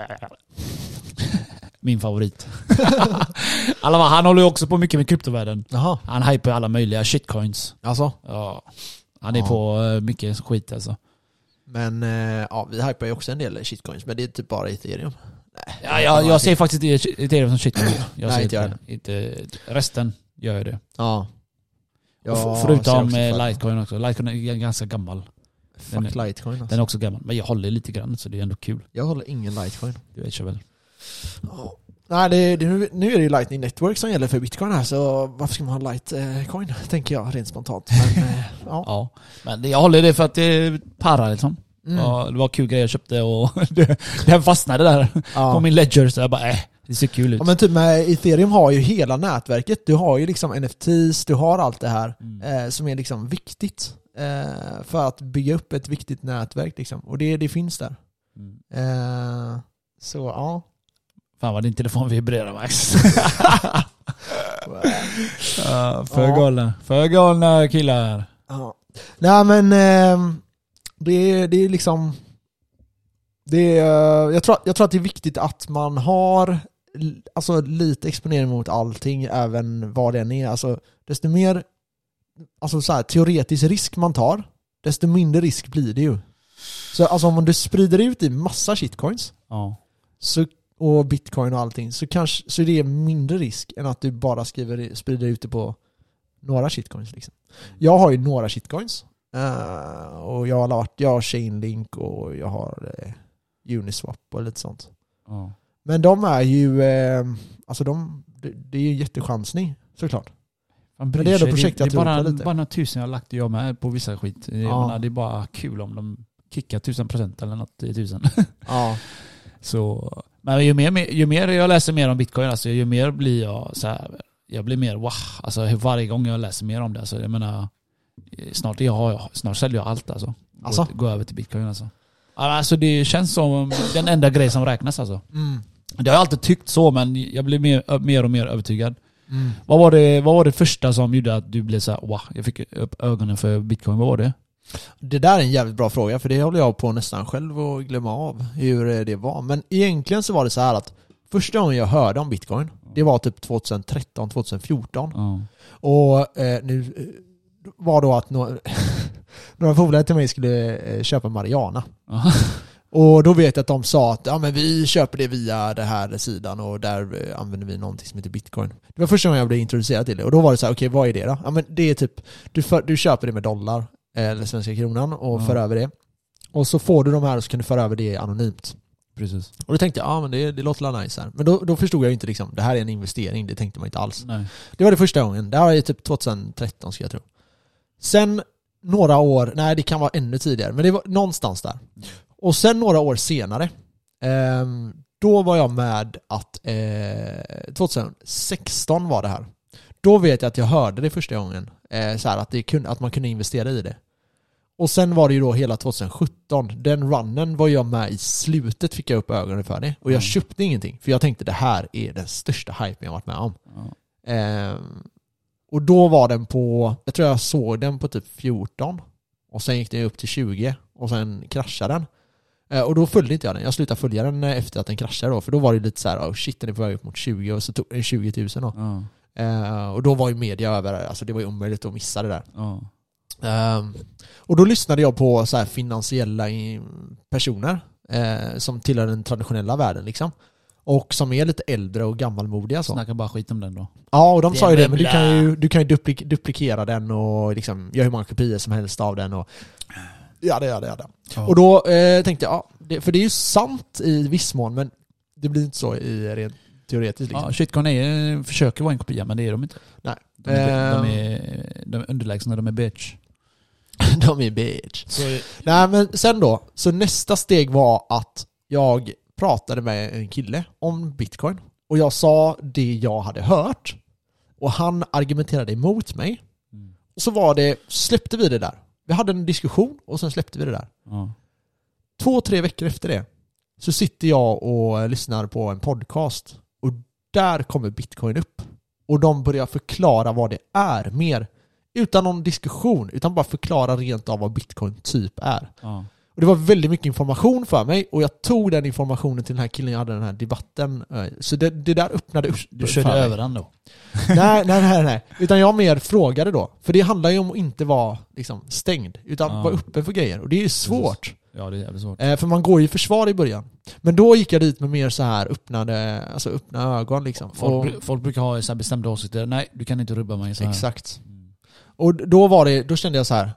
Min favorit. alla, bara, han håller ju också på mycket med kryptovärlden.
Jaha.
Han hypar alla möjliga shitcoins.
Alltså.
Ja. Han är
Ja.
på eh, mycket skit alltså.
Men eh, ja, vi hypar ju också en del shitcoins, men det är typ bara ethereum.
Ja, jag, jag ser faktiskt inte Ethereum som shitcoin. Jag
Nej,
ser
inte jag
inte, inte Resten gör ju det.
Ja.
Och f- förutom eh, Litecoin också. Litecoin är g- ganska gammal. den
Fuck
är-
litecoin alltså.
Den är också gammal. Men jag håller lite grann så det är ändå kul.
Jag håller ingen litecoin.
Det vet jag väl.
Ja. Nej, det, det, nu- nu är det ju Lightning Network som gäller för bitcoin här, så varför ska man ha litecoin? Tänker jag rent spontant. Men, eh, ja.
Ja. Men det- jag håller det för att det är para liksom.
Mm.
Ja, det var kul grejer jag köpte och det, den fastnade där
Ja.
på min ledger. Så jag bara äh, det ser kul ut.
Ja men typ med ethereum har ju hela nätverket. Du har ju liksom NFTs, du har allt det här
Mm.
eh, som är liksom viktigt eh, för att bygga upp ett viktigt nätverk liksom. Och det, det finns där.
Mm.
Eh, så ja.
Fan vad din telefon vibrerar Max. Ja, för
Ja.
galna. För galna killar.
ja. Nej men eh, det, det är liksom det är, eh, jag, tror, jag tror att det är viktigt att man har l- alltså, lite exponering mot allting, även vad det än är. Alltså, desto mer alltså, så här, teoretisk risk man tar, desto mindre risk blir det ju. Så alltså, om du sprider ut i massa shitcoins
Ja.
så, och bitcoin och allting så, kanske, så är det mindre risk än att du bara skriver, sprider ut det på några shitcoins. Liksom. Jag har ju några shitcoins. eh, och jag har, varit, jag har Chainlink och jag har eh, Uniswap och lite sånt.
ja.
Men de är ju, eh, alltså de, det, det är ju en jättechansning såklart.
Fan,
Men
bryr
det är ändå
sig.
projekt
det,
jag
det är
tror
bara,
på lite.
bara några tusen jag har lagt jag med på vissa skit. Jag
Ja.
menar, Det är bara kul om de kickar tusen procent eller något i tusen.
Ja.
Så, men ju mer, ju mer jag läser mer om bitcoin, alltså, ju mer blir jag så här, jag blir mer wow. Alltså, hur varje gång jag läser mer om det. Alltså, jag menar, snart, är jag, snart säljer jag allt alltså. Gå,
Alltså?
gå över till bitcoin alltså. Alltså det känns som den enda grej som räknas alltså.
Mm.
Det har jag alltid tyckt så men jag blir mer, mer och mer övertygad.
Mm.
Vad var, det, vad var det första som gjorde att du blev så här, wow, jag fick upp ögonen för bitcoin, vad var det?
Det där är en jävligt bra fråga för det håller jag på nästan själv att glömma av hur eh, det var. Men egentligen så var det så här att första gången jag hörde om bitcoin, det var typ 2013, 2014.
Ja.
Och eh, nu eh, var då att några, några polare till mig skulle eh, köpa Mariana. Och då vet jag att de sa att ja, men vi köper det via den här sidan och där eh, använder vi någonting som heter bitcoin. Det var första gången jag blev introducerad till det och då var det så här, okej vad är det då? Ja, men det är typ, du, för, du köper det med dollar eh, eller svenska kronan och
Ja.
för över det. Och så får du de här och så kan du föra över det anonymt.
Precis.
Och då tänkte jag, ja men det, det låter la nice här. Men då, då förstod jag ju inte liksom, det här är en investering, det tänkte man inte alls.
Nej.
Det var det första gången. Det här var ju typ 2013 ska jag tro. Sen några år, nej det kan vara ännu tidigare, men det var någonstans där. Och sen några år senare, ehm, då var jag med att, eh, 2016 var det här. Då vet jag att jag hörde det första gången, eh, så här, att, det kunde, att man kunde investera i det. Och sen var det ju då hela 2017, den runnen var jag med i slutet fick jag upp ögonen för det. Och jag
Mm.
köpte ingenting, för jag tänkte det här är den största hypen jag varit med om.
Ja.
Ehm, och då var den på, jag tror jag såg den på typ 14. Och sen gick den upp till 20 och sen kraschade den. Eh, och då följde inte jag den. Jag slutade följa den eh, efter att den kraschade då. För då var det lite så här, oh shit den är på väg upp mot 20 och så tog den 20 000 då.
Ja.
Eh, och då var ju media över, alltså det var ju omöjligt att missa det där.
Ja.
Ehm, och då lyssnade jag på så här finansiella i- personer eh, som tillhör den traditionella världen liksom. Och som är lite äldre och gammalmodiga så.
Snacka bara skit om den då.
Ja, och de
Det
sa ju det, men du
bubblar.
kan ju, du kan ju duplik, duplikera den och liksom göra hur många kopior som helst av den och ja det, ja det, ja det.
Ja.
Och då eh, tänkte jag, ja, det, för det är ju sant i viss mån, men det blir inte så i rent teoretiskt liksom.
Ja, shitcoin är, försöker vara en kopia men det är de inte.
Nej.
De är,
Ehm.
de är, de är underlägsna, de är bitch.
De är bitch. Nej men sen då, så nästa steg var att jag pratade med en kille om bitcoin. Och jag sa det jag hade hört. Och han argumenterade emot mig.
Mm.
Och så var det, släppte vi det där. Vi hade en diskussion och sen släppte vi det där.
Ja.
Två, tre veckor efter det så sitter jag och eh, lyssnar på en podcast. Och där kommer bitcoin upp. Och de börjar förklara vad det är mer. Utan någon diskussion, utan bara förklara rent av vad bitcoin typ är.
Ja.
Och det var väldigt mycket information för mig och jag tog den informationen till den här killen jag hade den här debatten. eh, Så det, det där öppnade upp
Du
för
körde
mig.
över den då?
Nej, nej, nej, nej. Utan jag mer frågade då. För det handlar ju om att inte vara liksom, stängd, utan
Ja.
vara öppen för grejer. Och det är ju svårt.
Ja, det är jävligt svårt.
Eh, för man går ju i försvar i början. Men då gick jag dit med mer så här öppnade, alltså öppna ögon liksom. Och,
Folk, folk brukar ha så här bestämda åsikter. Nej, du kan inte rubba mig så här.
exakt.
Mm.
Och då var det, då kände jag så här,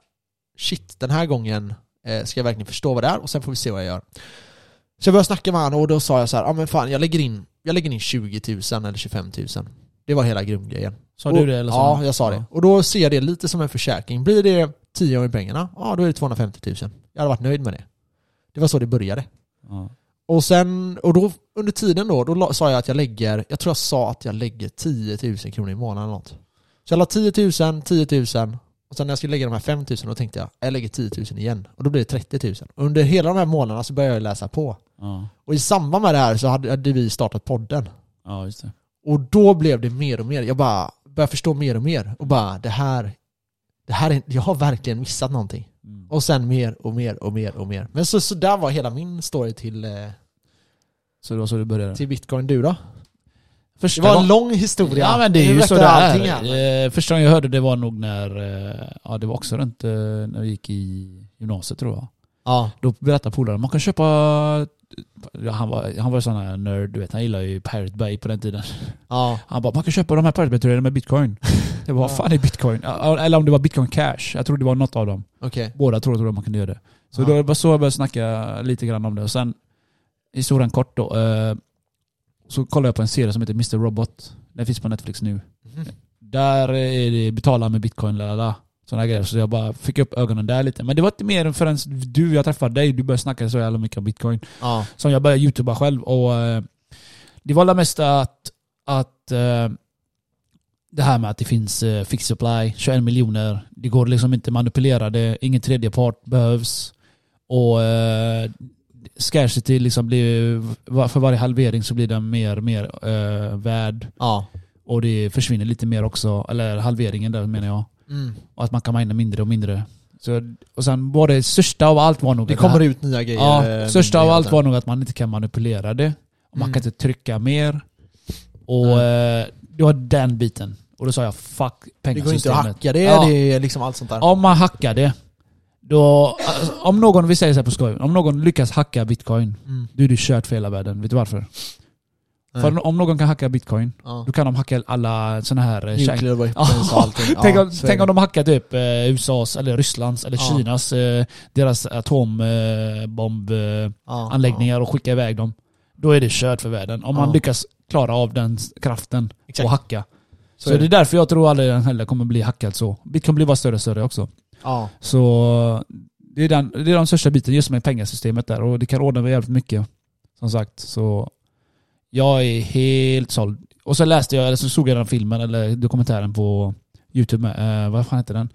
shit, den här gången eh, ska jag verkligen förstå vad det är och sen får vi se vad jag gör. Så jag började snacka med honom och då sa jag så här, ja ah, men fan jag lägger, in, jag lägger in 20 000 eller 25 000. Det var hela grundgrejen.
Sa
och,
du det eller sa
Ja,
han?
jag sa det. Och då ser jag det lite som en försäkring. Blir det 10 gånger pengarna, ja då är det 250 000. Jag hade varit nöjd med det. Det var så det började.
Ja.
Och sen, och då under tiden då, då la- sa jag att jag lägger, jag tror jag sa att jag lägger 10 000 kronor i månaden eller något. Så jag la 10 000, 10 000 och sen när jag skulle lägga de här 5 000 då tänkte jag, jag lägger 10 000 igen. Och då blir det 30 000. Och under hela de här månaderna så började jag läsa på.
Ja.
Och i samband med det här så hade, hade vi startat podden.
ja, just det.
Och då blev det mer och mer, jag bara började förstå mer och mer. Och bara det här, det här är, jag har verkligen missat någonting.
Mm.
Och sen mer och mer och mer och mer. Men så, så där var hela min story till, eh,
Så det var så du började?
till bitcoin. Du då? Det
Första
var en
gång-
lång historia.
Ja men det är
Nu
ju
berättar jag
så det
allting här.
är. Eh, Första gången jag hörde det var nog när, eh, ja det var också runt eh, när vi gick i gymnasiet tror jag.
Ja.
Då berättade polaren, man kan köpa, ja, han var, han var sån här nörd, du vet han gillade ju Pirate Bay på den tiden.
ja.
Han bara, man kan köpa de här Pirate Bay-turerna med bitcoin. Jag bara, vad
Ja.
fan är bitcoin? Ja, Eller om det var bitcoin cash, jag tror det var något av dem.
Okej.
Båda tror tror man kunde göra det. Så
Ja.
då var så jag började snacka lite grann om det. Och sen, historien kort då. Eh, så kollade jag på en serie som heter Mr Robot. Den finns på Netflix nu.
Mhm.
Där är det betala med bitcoin, lalala. Sådana grejer. Så jag bara fick upp ögonen där lite. Men det var inte mer än förrän du, jag träffade dig, du började snacka så jävla mycket om bitcoin.
Ja.
Som jag började youtuba själv. Och eh, det var det mesta att, att eh, det här med att det finns eh, fixed supply, 21 miljoner. Det går liksom inte att manipulera det. Ingen tredje part behövs. Och eh, scarcity liksom blir, för varje halvering så blir den mer mer eh, värd.
Ja.
Och det försvinner lite mer också. Eller halveringen där menar jag.
Mm.
Och att man kan mina mindre och mindre. Så, och sen var det största av allt var nog
Det
att här-
kommer ut nya grejer.
Ja,
eh,
största av
mindre
allt
hela
var nog att man inte kan manipulera det. Och Man
Mm.
kan inte trycka mer. Och eh, det var den biten. Och då sa jag fuck
tiden. Det går
pengasystemet.
inte att hacka det,
Ja.
det är liksom allt sånt där.
Om man hackar det, Då, alltså, om någon, vi säger så här på skoj, om någon lyckas hacka bitcoin,
Mm.
då är du kört för hela världen. Vet du varför?
Nej.
För om någon kan hacka bitcoin,
Ja.
då kan de hacka alla sådana här... eh, kärn-
Nuclear weapons och
Ja.
allting. Ja,
tänk, om,
så är
tänk
det.
om de hackar typ eh, USAs, eller Rysslands, eller
Ja.
Kinas, eh, deras atombombsanläggningar eh, bomb, eh,
Ja,
anläggningar och skickar iväg dem. Då är det kört för världen. Om man
Ja.
lyckas klara av den s- kraften
ja. Exakt.
och hacka.
Så
Så,
är
det är därför jag tror aldrig den heller kommer bli hackad så. Bitcoin blir bara större och större också.
Ja.
Så det är den, det är den största biten just med pengasystemet där och det kan ordna med jävligt mycket. Som sagt, så jag är helt såld. Och så läste jag, eller så såg jag den filmen eller dokumentären på YouTube med, eh, vad fan heter den?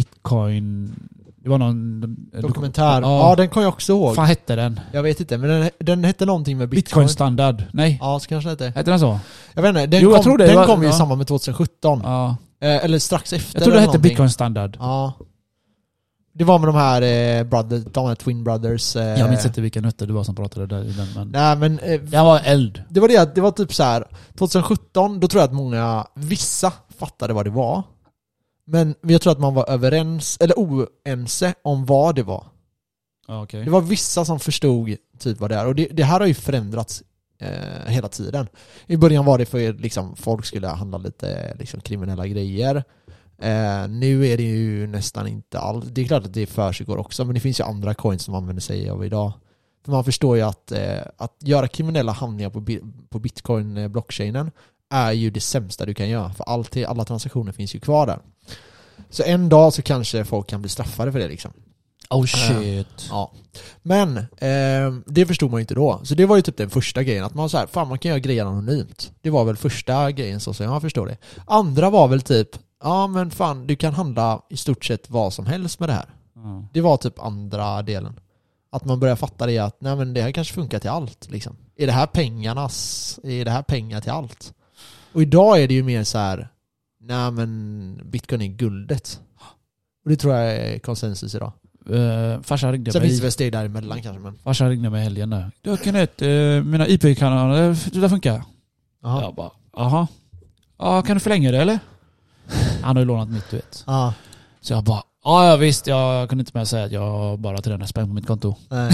Bitcoin... Det var någon...
Dokumentär. Ja.
Ja.
den kommer jag också ihåg.
Vad fan hette den?
Jag vet inte, men den, den hette någonting med bitcoin.
Bitcoin standard? Nej?
Ja, så kanske det hette.
Hette den så?
Jag vet inte, den
Jo, jag
kom,
tror det.
den
Jag-
kom ju i
ja.
samband med 2017.
Ja.
Eh, eller strax efter.
Jag tror det
eller
hette
någonting.
bitcoin standard.
Ja. Det var med de här, eh, brother, de här Twin Brothers. Eh,
Jag minns inte vilka nötter det var som pratade där i den men...
Nej men, eh,
Den var eld.
det var det att det var typ så här 2017, då tror jag att många, vissa fattade vad det var. Men jag tror att man var överens, eller oense om vad det var.
Ja, okej.
Det var vissa som förstod typ vad det är. Och det, det här har ju förändrats eh, hela tiden. I början var det för liksom, folk skulle handla lite liksom, kriminella grejer. Eh, nu är det ju nästan inte alls. Det är klart att det försiggår också, men det finns ju andra coins som använder sig av idag. För man förstår ju att, eh, att göra kriminella handlingar på, bi- på bitcoin-blockchainen är ju det sämsta du kan göra. För allt, alla transaktioner finns ju kvar där. Så en dag så kanske folk kan bli straffade för det liksom.
Oh shit.
Ja. Men eh, det förstod man ju inte då. Så det var ju typ den första grejen. Att man så här, fan man kan göra grejer anonymt. Det var väl första grejen så som jag förstår det. Andra var väl typ, ja men fan du kan handla i stort sett vad som helst med det här.
Ja.
Det var typ andra delen. Att man börjar fatta det att, nej men det här kanske funkar till allt liksom. Är det här pengarnas, är det här pengar till allt? Och idag är det ju mer så här, nej men bitcoin är guldet. Och det tror jag är konsensus idag.
Eh, farsan ringde
Sen
mig.
finns det väl steg däremellan kanske men.
Farsan ringde mig i helgen där. Du Kenneth, eh, mina IP-kanaler, eh, det där funkar.
Jaha.
Jag bara, jaha. Ja, kan du förlänga det eller? Han har ju lånat mitt du vet.
Ja,
Så jag bara, ja ja, visst, jag kunde inte mer säga att jag bara till den här spänn på mitt konto.
nej.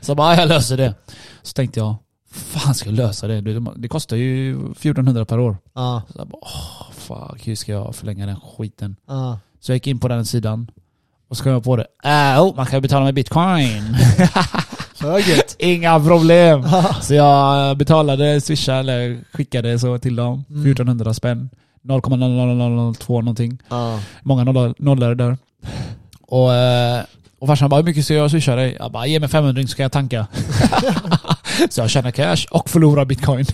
Så jag bara, ja, jag löser det. Så tänkte jag, fan ska jag lösa det? Det- Det kostar ju 1400 per år.
ja,
Så jag bara, åh fuck, hur ska jag förlänga den skiten?
ja.
Så jag gick in på den sidan. Och så kom jag på det, äh, oh, man kan ju betala med bitcoin.
Höget.
Inga problem! Så jag eh, betalade, swishade eller skickade så till dem.
Mm.
1400 spänn. 0,00002 någonting.
Ja.
Många noll- nollor där. Och, eh, och farsan bara, hur mycket ska jag swisha dig? Jag bara, ge mig 500 så kan jag tanka. så jag tjänar cash och förlorar bitcoin.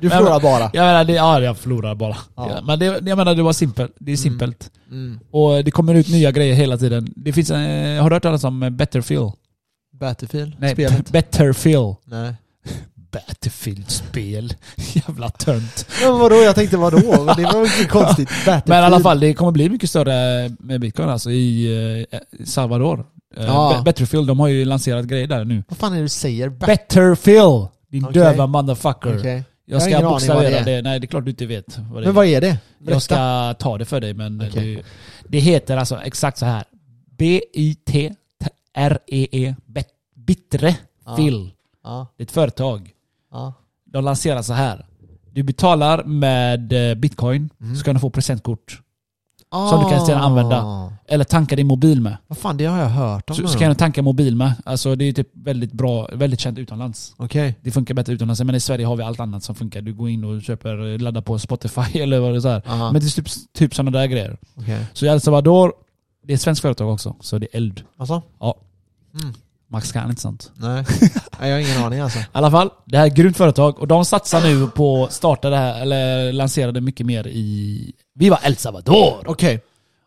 Du förlorar bara.
jag menar, det, ja, jag förlorar bara.
Ja.
Ja, men det, jag menar, det var simpelt. Det
Mm.
är simpelt.
Mm.
Och det kommer ut nya grejer hela tiden. Det finns, eh, har du hört talas om Betterfield?
Battlefield,
Nej,
spelet.
Betterfield.
Nej.
Battlefield-spel. Jävla tönt.
Ja, men vadå, jag tänkte vadå? Men Det var ju konstigt. Battlefield.
Men i alla fall, det kommer bli mycket större med bitcoin alltså i eh, Salvador. Eh,
Ja.
Be- Betterfield, de har ju lanserat grejer där nu.
Vad fan är det du säger? Bat-
Betterfield! Din
Okej.
döva motherfucker.
Okej.
Jag ska
Jag har ingen aning vad
bokstavera
det
det. Nej, det är klart du inte vet vad det
Men vad är det?
är. Jag ska ta det för dig men
Okej.
det, det heter alltså exakt så här. B-I-T-R-E-E. Bet- E Bittre.
Ja.
Phil.
Ja,
Det är ett företag.
ja.
De lanserar så här. Du betalar med eh, bitcoin,
Mm.
så kan du få presentkort. Som du kan sedan använda.
Ah.
Eller tanka din mobil med.
Vad fan, det har jag hört om.
Så,
nu.
så kan du tanka mobil med. Alltså det är typ väldigt bra, väldigt känt utomlands.
Okej.
Det funkar bättre utomlands, men i Sverige har vi allt annat som funkar. Du går in och köper, eh, laddar på Spotify eller vad det är. Så här.
Aha,
Men det är typ, typ sådana där grejer.
okej.
Så i El Salvador, det är ett svenskt företag också, så det är eld.
Alltså?
Ja.
Mm.
Max kan inte sant.
Nej. Nej, jag har ingen aning alltså.
I alla fall, det här är ett grymt företag och de satsar nu på att starta det här, eller lanserade mycket mer i... Vi var El Salvador!
Okej.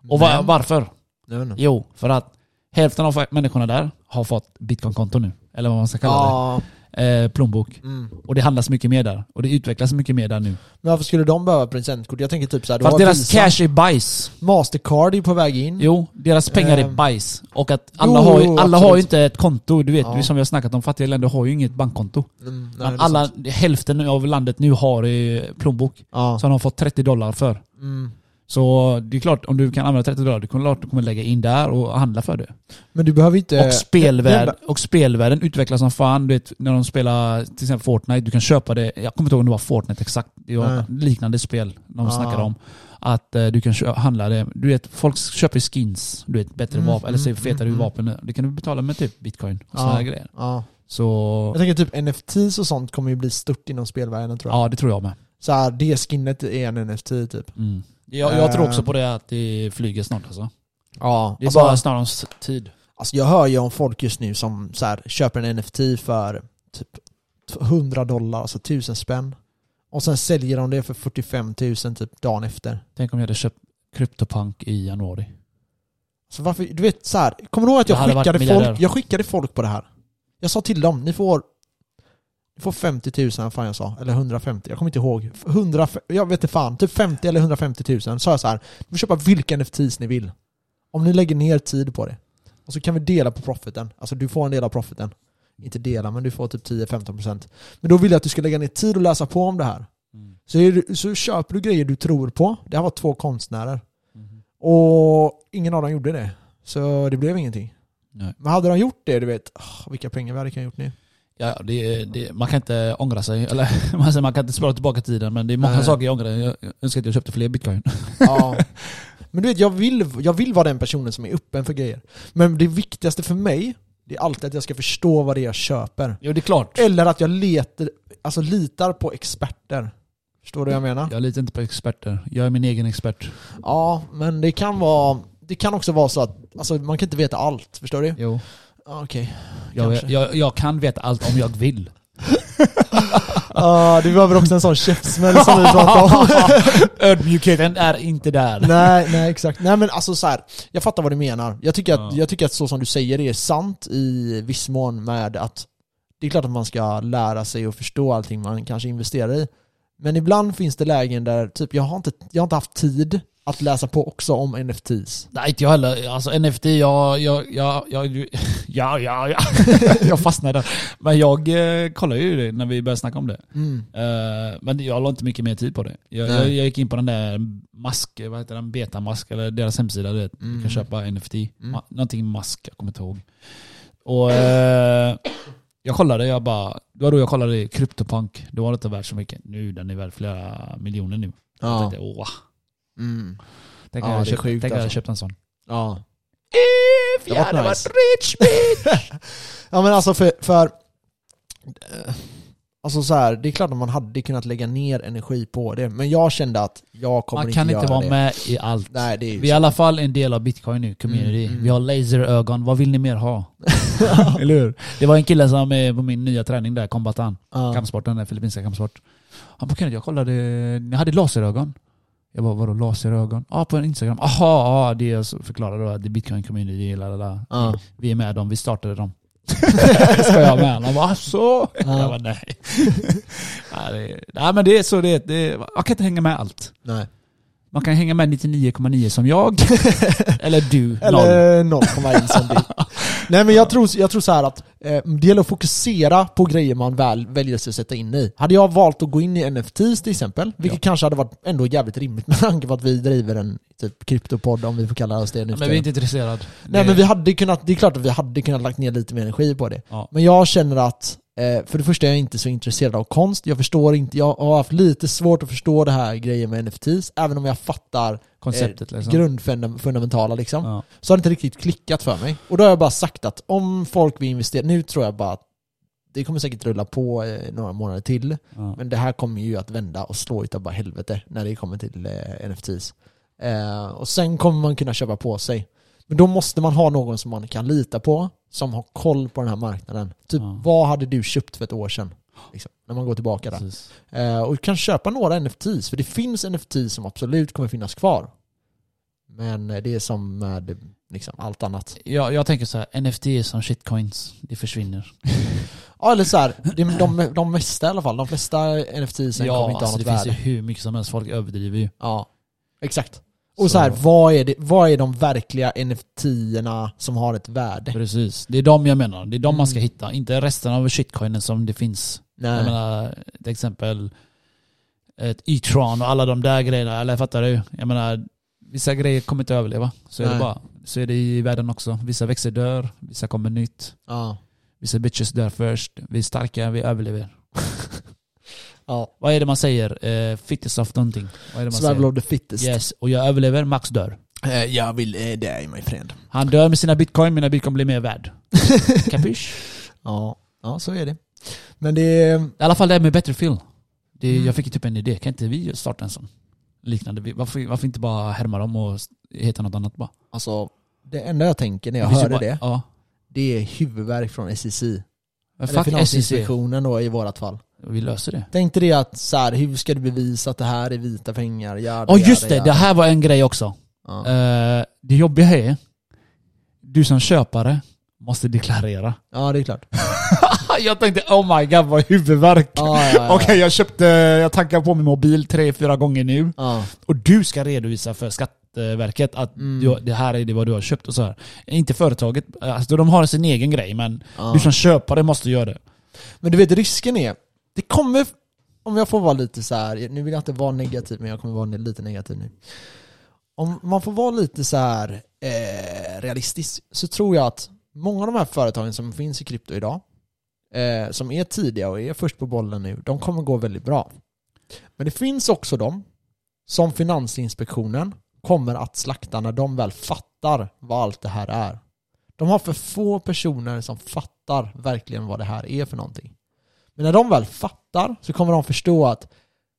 Och va-
Men-
varför?
Jag vet inte.
Jo, för att hälften av människorna där har fått bitcoinkonto nu. Eller vad man ska kalla
Ja.
det. Eh, plånbok.
Mm.
Och det handlas mycket mer där. Och det utvecklas mycket mer där nu.
Men varför skulle de behöva presentkort? Jag tänker typ såhär,
För att deras cash är bajs.
Mastercard är på väg in.
Jo, deras pengar är
Ehm.
bajs. Och att alla,
Jo,
har,
jo,
ju, alla har ju
absolut.
inte ett konto. Du vet,
Ja.
det är som vi har snackat om, fattiga länder har ju inget bankkonto.
Mm, nej, det
Men
är
alla,
sant.
hälften av landet nu har eh, plånbok.
Ja.
Som de har fått 30 dollar för.
Mm.
Så det är klart, om du kan använda 30 dollar, du kommer, klart, du kommer lägga in där och handla för det.
Men du behöver inte...
Och, spelvärld, och spelvärlden utvecklas som fan. Du vet, när de spelar till exempel Fortnite, du kan köpa det. Jag kommer inte ihåg om det var Fortnite exakt. Det var
Nej.
liknande spel de
Ah.
snackade om. Att eh, du kan kö- handla det. Du vet, folk köper skins. Du vet, bättre
Mm,
vapen. Eller
mm,
så fetare
mm, Ah.
vapen. Det kan du betala med typ bitcoin och
Ja.
sådana här grejer.
Ja.
Så...
Jag tänker typ NFTs och sånt kommer ju bli stort inom spelvärlden tror jag.
Ja, det tror jag med.
Så här, det skinnet är en NFT typ.
Mm. Jag, jag tror också
Eh.
på det att det flyger snart alltså.
Ja. alltså-
Det är
bara,
bara snarare om s- tid.
alltså, jag hör ju om folk just nu som så här, köper en NFT för typ 100 dollar, alltså 1000 spänn. Och sen säljer de det för 45 000 typ dagen efter.
Tänk om jag hade köpt CryptoPunk i januari.
Så varför, du vet så här, kommer du ihåg att
Jag
jag
hade varit
skickade,
miljardär.
folk, jag skickade folk på det här? Jag sa till dem, ni får, ni får 50 000, vad fan jag sa, eller 150, jag kommer inte ihåg. 100, jag vet inte fan, typ 50 eller 150 000. Sa jag så här, ni får köpa vilka NFTs ni vill. Om ni lägger ner tid på det. Och så kan vi dela på profiten. Alltså du får en del av profiten. Inte dela, men du får typ 10-15%. Men då vill jag att du ska lägga ner tid och läsa på om det här.
Mm.
Så, är du, så köper du grejer du tror på. Det här var två konstnärer. Och ingen av dem gjorde det. Så det blev ingenting.
Nej.
Men hade de gjort det, du vet, ah, vilka pengar vi hade kunnat gjort nu.
Ja, ja, det, det, man kan inte ångra sig. Eller man, säger, man kan inte spara tillbaka tiden, men det är många
Nej.
saker jag ångrar. Jag, jag önskar att jag köpte fler bitcoin.
Ja. Men du vet, jag vill, jag vill vara den personen som är öppen för grejer. Men det viktigaste för mig, det är alltid att jag ska förstå vad det är jag köper.
Jo, det är klart.
Eller att jag letar, alltså litar på experter. Förstår du vad jag menar?
Jag litar inte på experter. Jag är min egen expert.
Ja, men det kan vara, det kan också vara så att, alltså man kan inte veta allt, förstår du?
Jo,
Ja, Okej.
jag,
Kanske.
jag, jag kan veta allt om jag vill.
Ja, du behöver också en sån käftsmäll som vi pratade om.
Ödmjukheten är inte där.
nej, nej exakt. Nej men alltså så här, jag fattar vad du menar. Jag tycker, att,
Ja.
jag tycker att så som du säger det är sant i viss mån med att det är klart att man ska lära sig och förstå allting man kanske investerar i. Men ibland finns det lägen där typ, jag har inte, jag har inte haft tid att läsa på också om NFTs.
Nej, inte jag heller. Alltså NFT, jag... jag, jag, jag ja, ja, ja. jag fastnar där. Men jag eh, kollar ju det när vi började snacka om det.
Mm,
Eh, men det- jag la inte mycket mer tid på det. Jag,
Nej.
jag, jag gick in på den där mask, vad heter den? Betamask, eller deras hemsida. Du, vet. du
Mm.
kan köpa NFT.
Mm.
Ma- Någonting mask, jag kommer inte ihåg. Och, eh, jag kollade, jag bara, det var då jag kollade CryptoPunk. Det var inte värt så mycket. Nu, den är värd flera miljoner nu. Jag
Ja.
tänkte, åh,
Mm.
tänk
Ja,
om jag
det är
köpt-
sjukt
tänk om jag hade
alltså.
köpt en sån.
Ja.
If
Det hade varit nice.
rich bitch!
ja men alltså för, för eh, Alltså så här, det är klart att man hade kunnat lägga ner energi på det, men jag kände att jag kommer
Man kan inte
göra
vara
det.
med i allt.
Nej, det är ju
Vi är i alla fall en del av bitcoin nu, community.
Mm, mm.
Vi har laserögon, vad vill ni mer ha? Eller hur? Det var en kille som är på min nya träning där, kombatan.
Ja.
Kampsporten, den filippinska kampsport. Han bara Kenneth, jag kollade, ni hade laserögon. Jag bara vadå laserögon? Ja ah, på Instagram. Aha, ah, det jag så förklarade då att det är bitcoin community, la, la, la.
Ja.
Vi är med dem, vi startade dem. Ska jag med? Han bara så. Jag bara nej. nej, det, nej men det är så det är. Det, är- jag kan inte hänga med allt.
Nej.
Man kan hänga med 99,9 som jag. eller du, noll.
Eller 0,1 som du. Nej men jag tror, jag tror så här att eh, det gäller att fokusera på grejer man väl väljer sig att sätta in i. Hade jag valt att gå in i NFTs till exempel, vilket kanske hade varit ändå jävligt rimligt med tanke på att vi driver en typ kryptopodd om vi får kalla oss det nu för
Men vi är
tiden.
inte intresserade.
Nej men vi hade kunnat, det är klart att vi hade kunnat lagt ner lite mer energi på det.
Ja.
Men jag känner att, eh, för det första är jag inte så intresserad av konst, jag förstår inte, jag har haft lite svårt att förstå det här grejen med NFTs, även om jag fattar
Konceptet liksom.
grundfundamentala liksom.
Ja.
Så har det inte riktigt klickat för mig. Och då har jag bara sagt att om folk vill investera, nu tror jag bara att det kommer säkert rulla på eh, några månader till.
Ja.
Men det här kommer ju att vända och slå utav bara helvete när det kommer till eh, NFTs. Eh, och sen kommer man kunna köpa på sig. Men då måste man ha någon som man kan lita på, som har koll på den här marknaden. Typ,
Ja.
vad hade du köpt för ett år sedan? Liksom, när man går tillbaka där.
Precis.
Eh, och kan köpa några NFTs, för det finns NFTs som absolut kommer finnas kvar. Men eh, det är som med eh, liksom, allt annat.
Jag, jag tänker så här, NFT är som shitcoins, det försvinner.
Ja, eller så här, det är de, de, de mesta i alla fall, de flesta NFTs
ja,
kommer inte
alltså,
ha något
det finns
värde.
ju hur mycket som helst, folk överdriver ju.
Ja, exakt. Och så, här, vad är, det, vad är de verkliga NFT-erna som har ett värde?
Precis, det är de jag menar. Det är de man ska
Mm.
hitta, inte resten av shitcoinen som det finns. Jag
Nej.
menar, till exempel ett E-tron och alla de där grejerna, eller fattar du? Jag menar, Vissa grejer kommer inte överleva. Så är, det
Nej.
bara, så är det i världen också. Vissa växter dör, vissa kommer nytt.
Ja.
Vissa bitches dör först. Vi är starka, vi överlever.
ja.
Vad är det man säger? Eh, fittest of någonting. Vad är det man
Survival of the fittest.
säger? Yes, och jag överlever, Max dör.
Eh, jag vill eh, dig min friend.
Han dör med sina bitcoin, mina bitcoin blir mer värd. Kapisch?
Ja. ja, så är det. Men det är...
I alla fall det här med bättre film. Det,
Mm.
Jag fick ju typ en idé, kan inte vi starta en sån? Liknande. Vi- Varför, varför inte bara härma dem och s- heta något annat bara?
Alltså, det enda jag tänker när
Det
jag
finns ju
hörde
bara,
det,
Ja.
det är huvudvärk från SEC.
Men
Eller
fuck E SEC.
Finansinspektionen då i vårat fall.
Vi löser det.
Tänkte det att så här, hur ska du bevisa att det här är vita pengar? Ja,
Ja just det, det här var en grej också.
Ja.
Eh, det jobbiga är, du som köpare måste deklarera.
ja, det är klart.
jag tänkte oh my god vad huvudvärk.
Ja, ja, ja.
Okej jag köpte, jag tankar på min mobil tre, fyra gånger nu.
Ja.
Och du ska redovisa för Skatteverket att
Mm.
du, det här är det vad du har köpt och så här. Inte företaget, alltså de har sin egen grej men
Ja.
du som köpare måste göra det.
Men du vet risken är, det kommer, om jag får vara lite så här, nu vill jag inte vara negativ men jag kommer vara lite negativ nu. Om man får vara lite så här eh, realistisk så tror jag att många av de här företagen som finns i krypto idag, eh, som är tidiga och är först på bollen nu, de kommer gå väldigt bra. Men det finns också de som Finansinspektionen kommer att slakta när de väl fattar vad allt det här är. De har för få personer som fattar verkligen vad det här är för någonting. Men när de väl fattar så kommer de förstå att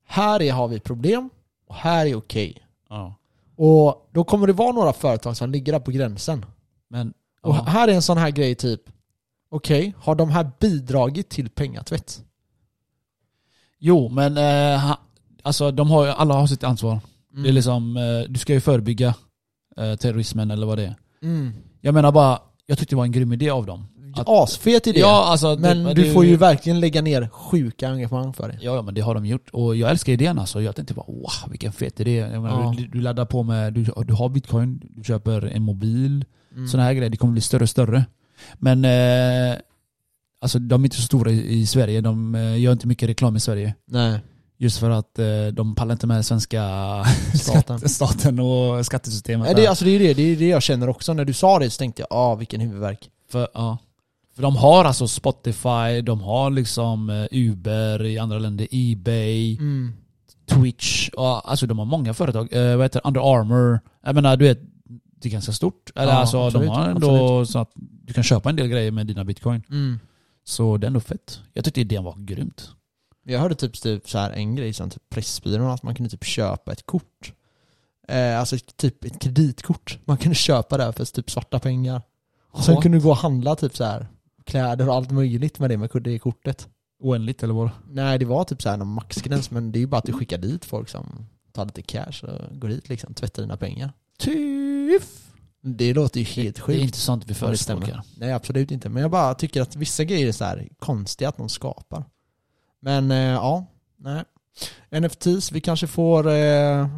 här är, har vi problem och här är okej.
Ja.
Och då kommer det vara några företag som ligger där på gränsen.
Men,
Och
ja.
här är en sån här grej typ, okej, har de här bidragit till pengatvätt?
Jo men eh, ha- alltså, de har, ju- alla har sitt ansvar.
Mm.
Det är liksom, eh, du ska ju förebygga eh, terrorismen eller vad det är.
Mm.
Jag menar bara, jag tyckte det var en grym idé av dem. Att-
Asfet idé.
Ja, alltså,
men
det-
du
det-
får ju verkligen lägga ner sjuka engagemang för det.
Ja, ja, men det har de gjort. Och jag älskar idén alltså. Jag tänkte bara wow, vilken fet idé. Jag menar,
Ja.
du, du laddar på med, du, du har bitcoin, du köper en mobil,
Mm.
sådana här grejer. Det kommer bli större och större. Men eh, alltså de är inte så stora i, i Sverige. De eh, gör inte mycket reklam i Sverige.
Nej,
Just för att eh, de pallar inte med svenska
staten.
staten och skattesystemet.
Mm. Nej,
där.
det, alltså det är ju det, det är det jag känner också. När du sa det så tänkte jag, ah vilken huvudvärk.
För, ja. För de har alltså Spotify, de har liksom eh, Uber i andra länder, Ebay, Twitch. Ja, alltså de har många företag. Eh, vad heter det? Under Armour. Jag menar du vet, det är ganska stort. Eller
Ja,
alltså
absolut,
de har ändå så att du kan köpa en del grejer med dina bitcoin.
Mm.
Så det är ändå fett. Jag tyckte idén var grymt.
Jag hörde typ, typ så här en grej som typ Pressbyrån, att man kunde typ köpa ett kort. Eh, alltså ett- typ ett kreditkort. Man kunde köpa det här för typ svarta pengar. Och sen
What?
kunde du gå och handla typ så här kläder och allt möjligt med det, med det kortet.
Oändligt eller vad?
Nej, det var typ så här någon maxgräns, men det är ju bara att du skickar dit folk som tar lite cash och går dit liksom, tvättar dina pengar.
Tyff!
Det låter ju helt
Det är
sjukt.
inte sånt vi
Ja, det stämmer.
förespråkar.
Nej, absolut inte. Men jag bara tycker att vissa grejer är så här konstiga att de skapar. Men eh, ja, nej. NFTs, vi kanske får eh,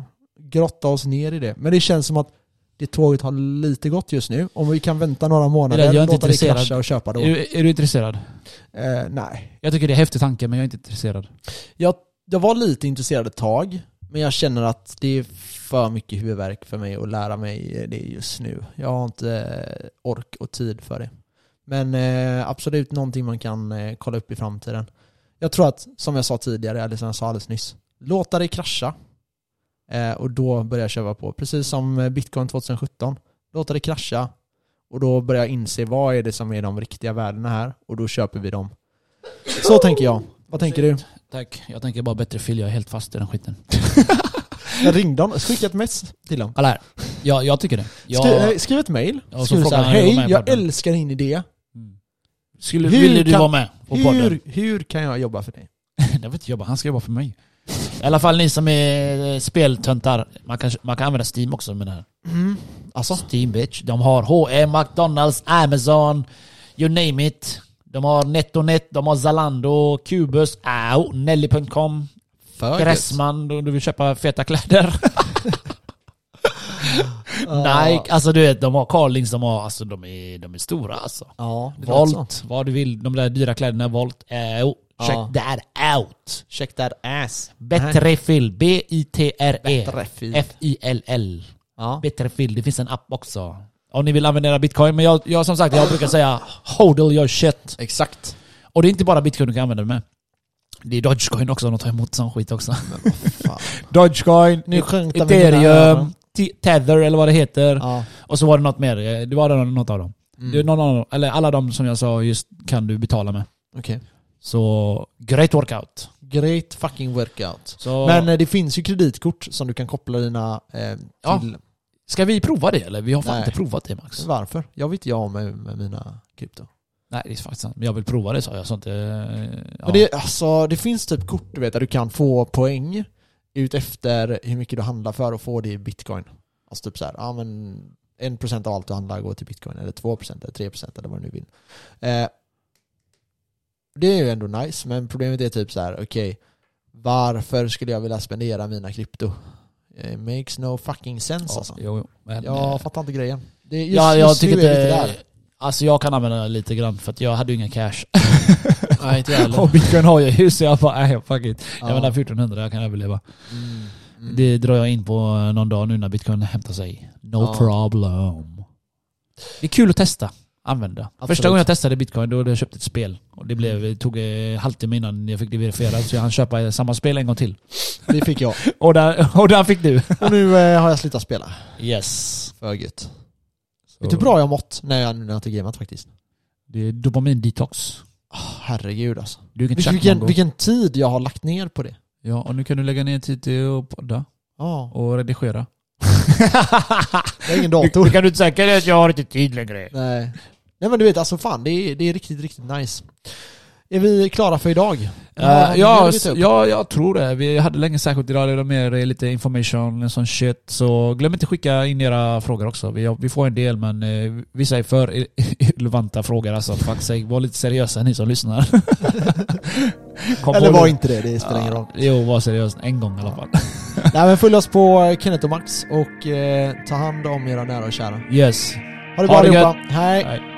grotta oss ner i det. Men det känns som att det tåget har lite gått just nu. Om vi kan vänta några månader,
jag är inte
låta det
intresserad.
krascha och köpa då.
Är du, är du intresserad?
Eh, nej.
Jag tycker det är en häftig tanke men jag är inte intresserad.
Jag, jag var lite intresserad ett tag, men jag känner att det är för mycket huvudvärk för mig att lära mig det just nu. Jag har inte eh, ork och tid för det. Men eh, absolut någonting man kan eh, kolla upp i framtiden. Jag tror att, som jag sa tidigare, eller som jag sa alldeles nyss, låta det krascha. Eh, och då börjar jag köpa på. Precis som eh, bitcoin 2017. Låta det krascha. Och då börjar jag inse vad är det som är de riktiga värdena här. Och då köper vi dem. Så tänker jag. Vad tänker du?
Tack. Jag tänker bara bättre film, jag är helt fast i den skiten.
Jag ringde honom, skickat ett mess till honom.
Alla här. Ja, jag tycker det. Jag,
Skri, eh, skriv ett mail.
Ja, så
Skriv så
frågar
här,
han om jag vill vara
hej,
med i
jag
podden."
älskar din idé.
Mm. Skulle,
Hur
ville du
kan-
vara med på podden?
Hur, hur kan jag jobba för dig?
Jag vet inte jobba, han ska jobba för mig. I alla fall ni som är eh, speltöntar, man kan, man kan använda Steam också med det här.
Mm. Alltså,
Steam bitch. De har H&M, McDonalds, Amazon, you name it. De har NetOnNet, de har Zalando, Cubus, au, Nelly.com,
för
Gräsman om du vill köpa feta kläder.
gött. Ja.
Nike, alltså du vet, de har Carlings, de har, alltså de är, de är stora alltså.
Ja, det låter så.
Volt, vad du vill. De där dyra kläderna, Volt, au, check
Ja.
that out. E.
Check that ass.
Bättre film. B-I-T-R-E.
Bättre fil.
F-I-L-L.
Ja.
Bättre Phil, det finns en app också. Om ni vill använda era bitcoin. Men jag, jag som sagt, jag brukar säga hodl your shit.
Exakt.
Och det är inte bara bitcoin du kan använda det med. Det är Dogecoin också, de tar emot sån skit också.
Fan.
Dogecoin,
Nu sjönk den vid mina
ethereum,
öron.
Te- tether eller vad det heter.
Ja.
Och så var det något mer. Eh, Det var det något av dem.
Mm.
Det är någon av dem, eller alla de som jag sa just kan du betala med.
Okej.
Så great workout.
Great fucking workout. Men
Så, Men
eh, det finns ju kreditkort som du kan koppla dina eh,
Ja.
till.
ska vi prova det eller? Vi har fan
Nej.
inte provat det Max.
Varför? Jag vet jag med, med mina krypto.
Nej det är faktiskt sant. Men jag vill prova det sa jag. Så inte, eh, ja.
Men det, alltså, det finns typ kort du vet där du kan få poäng ut efter hur mycket du handlar för och få det i bitcoin. Alltså typ så här, ja men 1% av allt du handlar går till bitcoin eller 2% eller 3% eller vad du nu vill. Eh, det är ju ändå nice men problemet är typ så här, okej varför skulle jag vilja spendera mina krypto? It makes no fucking sense
ja,
alltså.
jo, jo. Men, eh,
Jag fattar inte grejen. Det, just,
ja, jag
just
tycker
nu är det
inte...
där.
Alltså jag kan använda det lite grann för att jag hade ju inga cash.
Nej, inte jag
Och bitcoin har jag ju så jag bara, nej fuck it. Jag
Ja.
menar 1400, jag kan överleva.
Mm, mm.
Det drar jag in på eh, någon dag nu när bitcoin hämtar sig. No
Ja.
problem. Det är kul att testa. Använda.
Absolut.
Första gången jag testade bitcoin då hade jag köpt ett spel. Och det blev, det tog eh, halvtimme innan jag fick det verifierat så jag hann köpa samma spel en gång till.
Det fick jag.
Och där, och där fick du.
Och nu eh, har jag slutat spela.
Yes.
För gött.
Så.
Vet du hur bra jag mått när jag, när jag inte gameat faktiskt?
Det är dopamin-detox.
Ah, herregud alltså.
Du kan
Vilken, vilken, vilken tid jag har lagt ner på det.
Ja, och nu kan du lägga ner tid till att podda
Ja,
och redigera.
jag har ingen dator.
kan du inte säga att jag har inte tid längre.
Nej. Nej men du vet alltså fan, det är, det är riktigt, riktigt nice. Är vi klara för idag? Har vi mer
Eh, ja,
att ta upp?
ja, jag tror det. Vi hade länge särskilt idag, det var mer eh, lite information och sån shit. Så glöm inte skicka in era frågor också. Vi, vi får en del men eh, vissa är för relevanta frågor alltså. Fuck sake, var lite seriösa ni som lyssnar. Kom
Eller
på
var
det.
inte det, det spelar ingen roll.
Ja, Jo, var seriös en gång i alla fall.
Nej men följ oss på eh, Kenneth och Max och eh, ta hand om era nära och kära.
Yes.
Ha det bra
Ha det
allihopa. Hej.
Hej.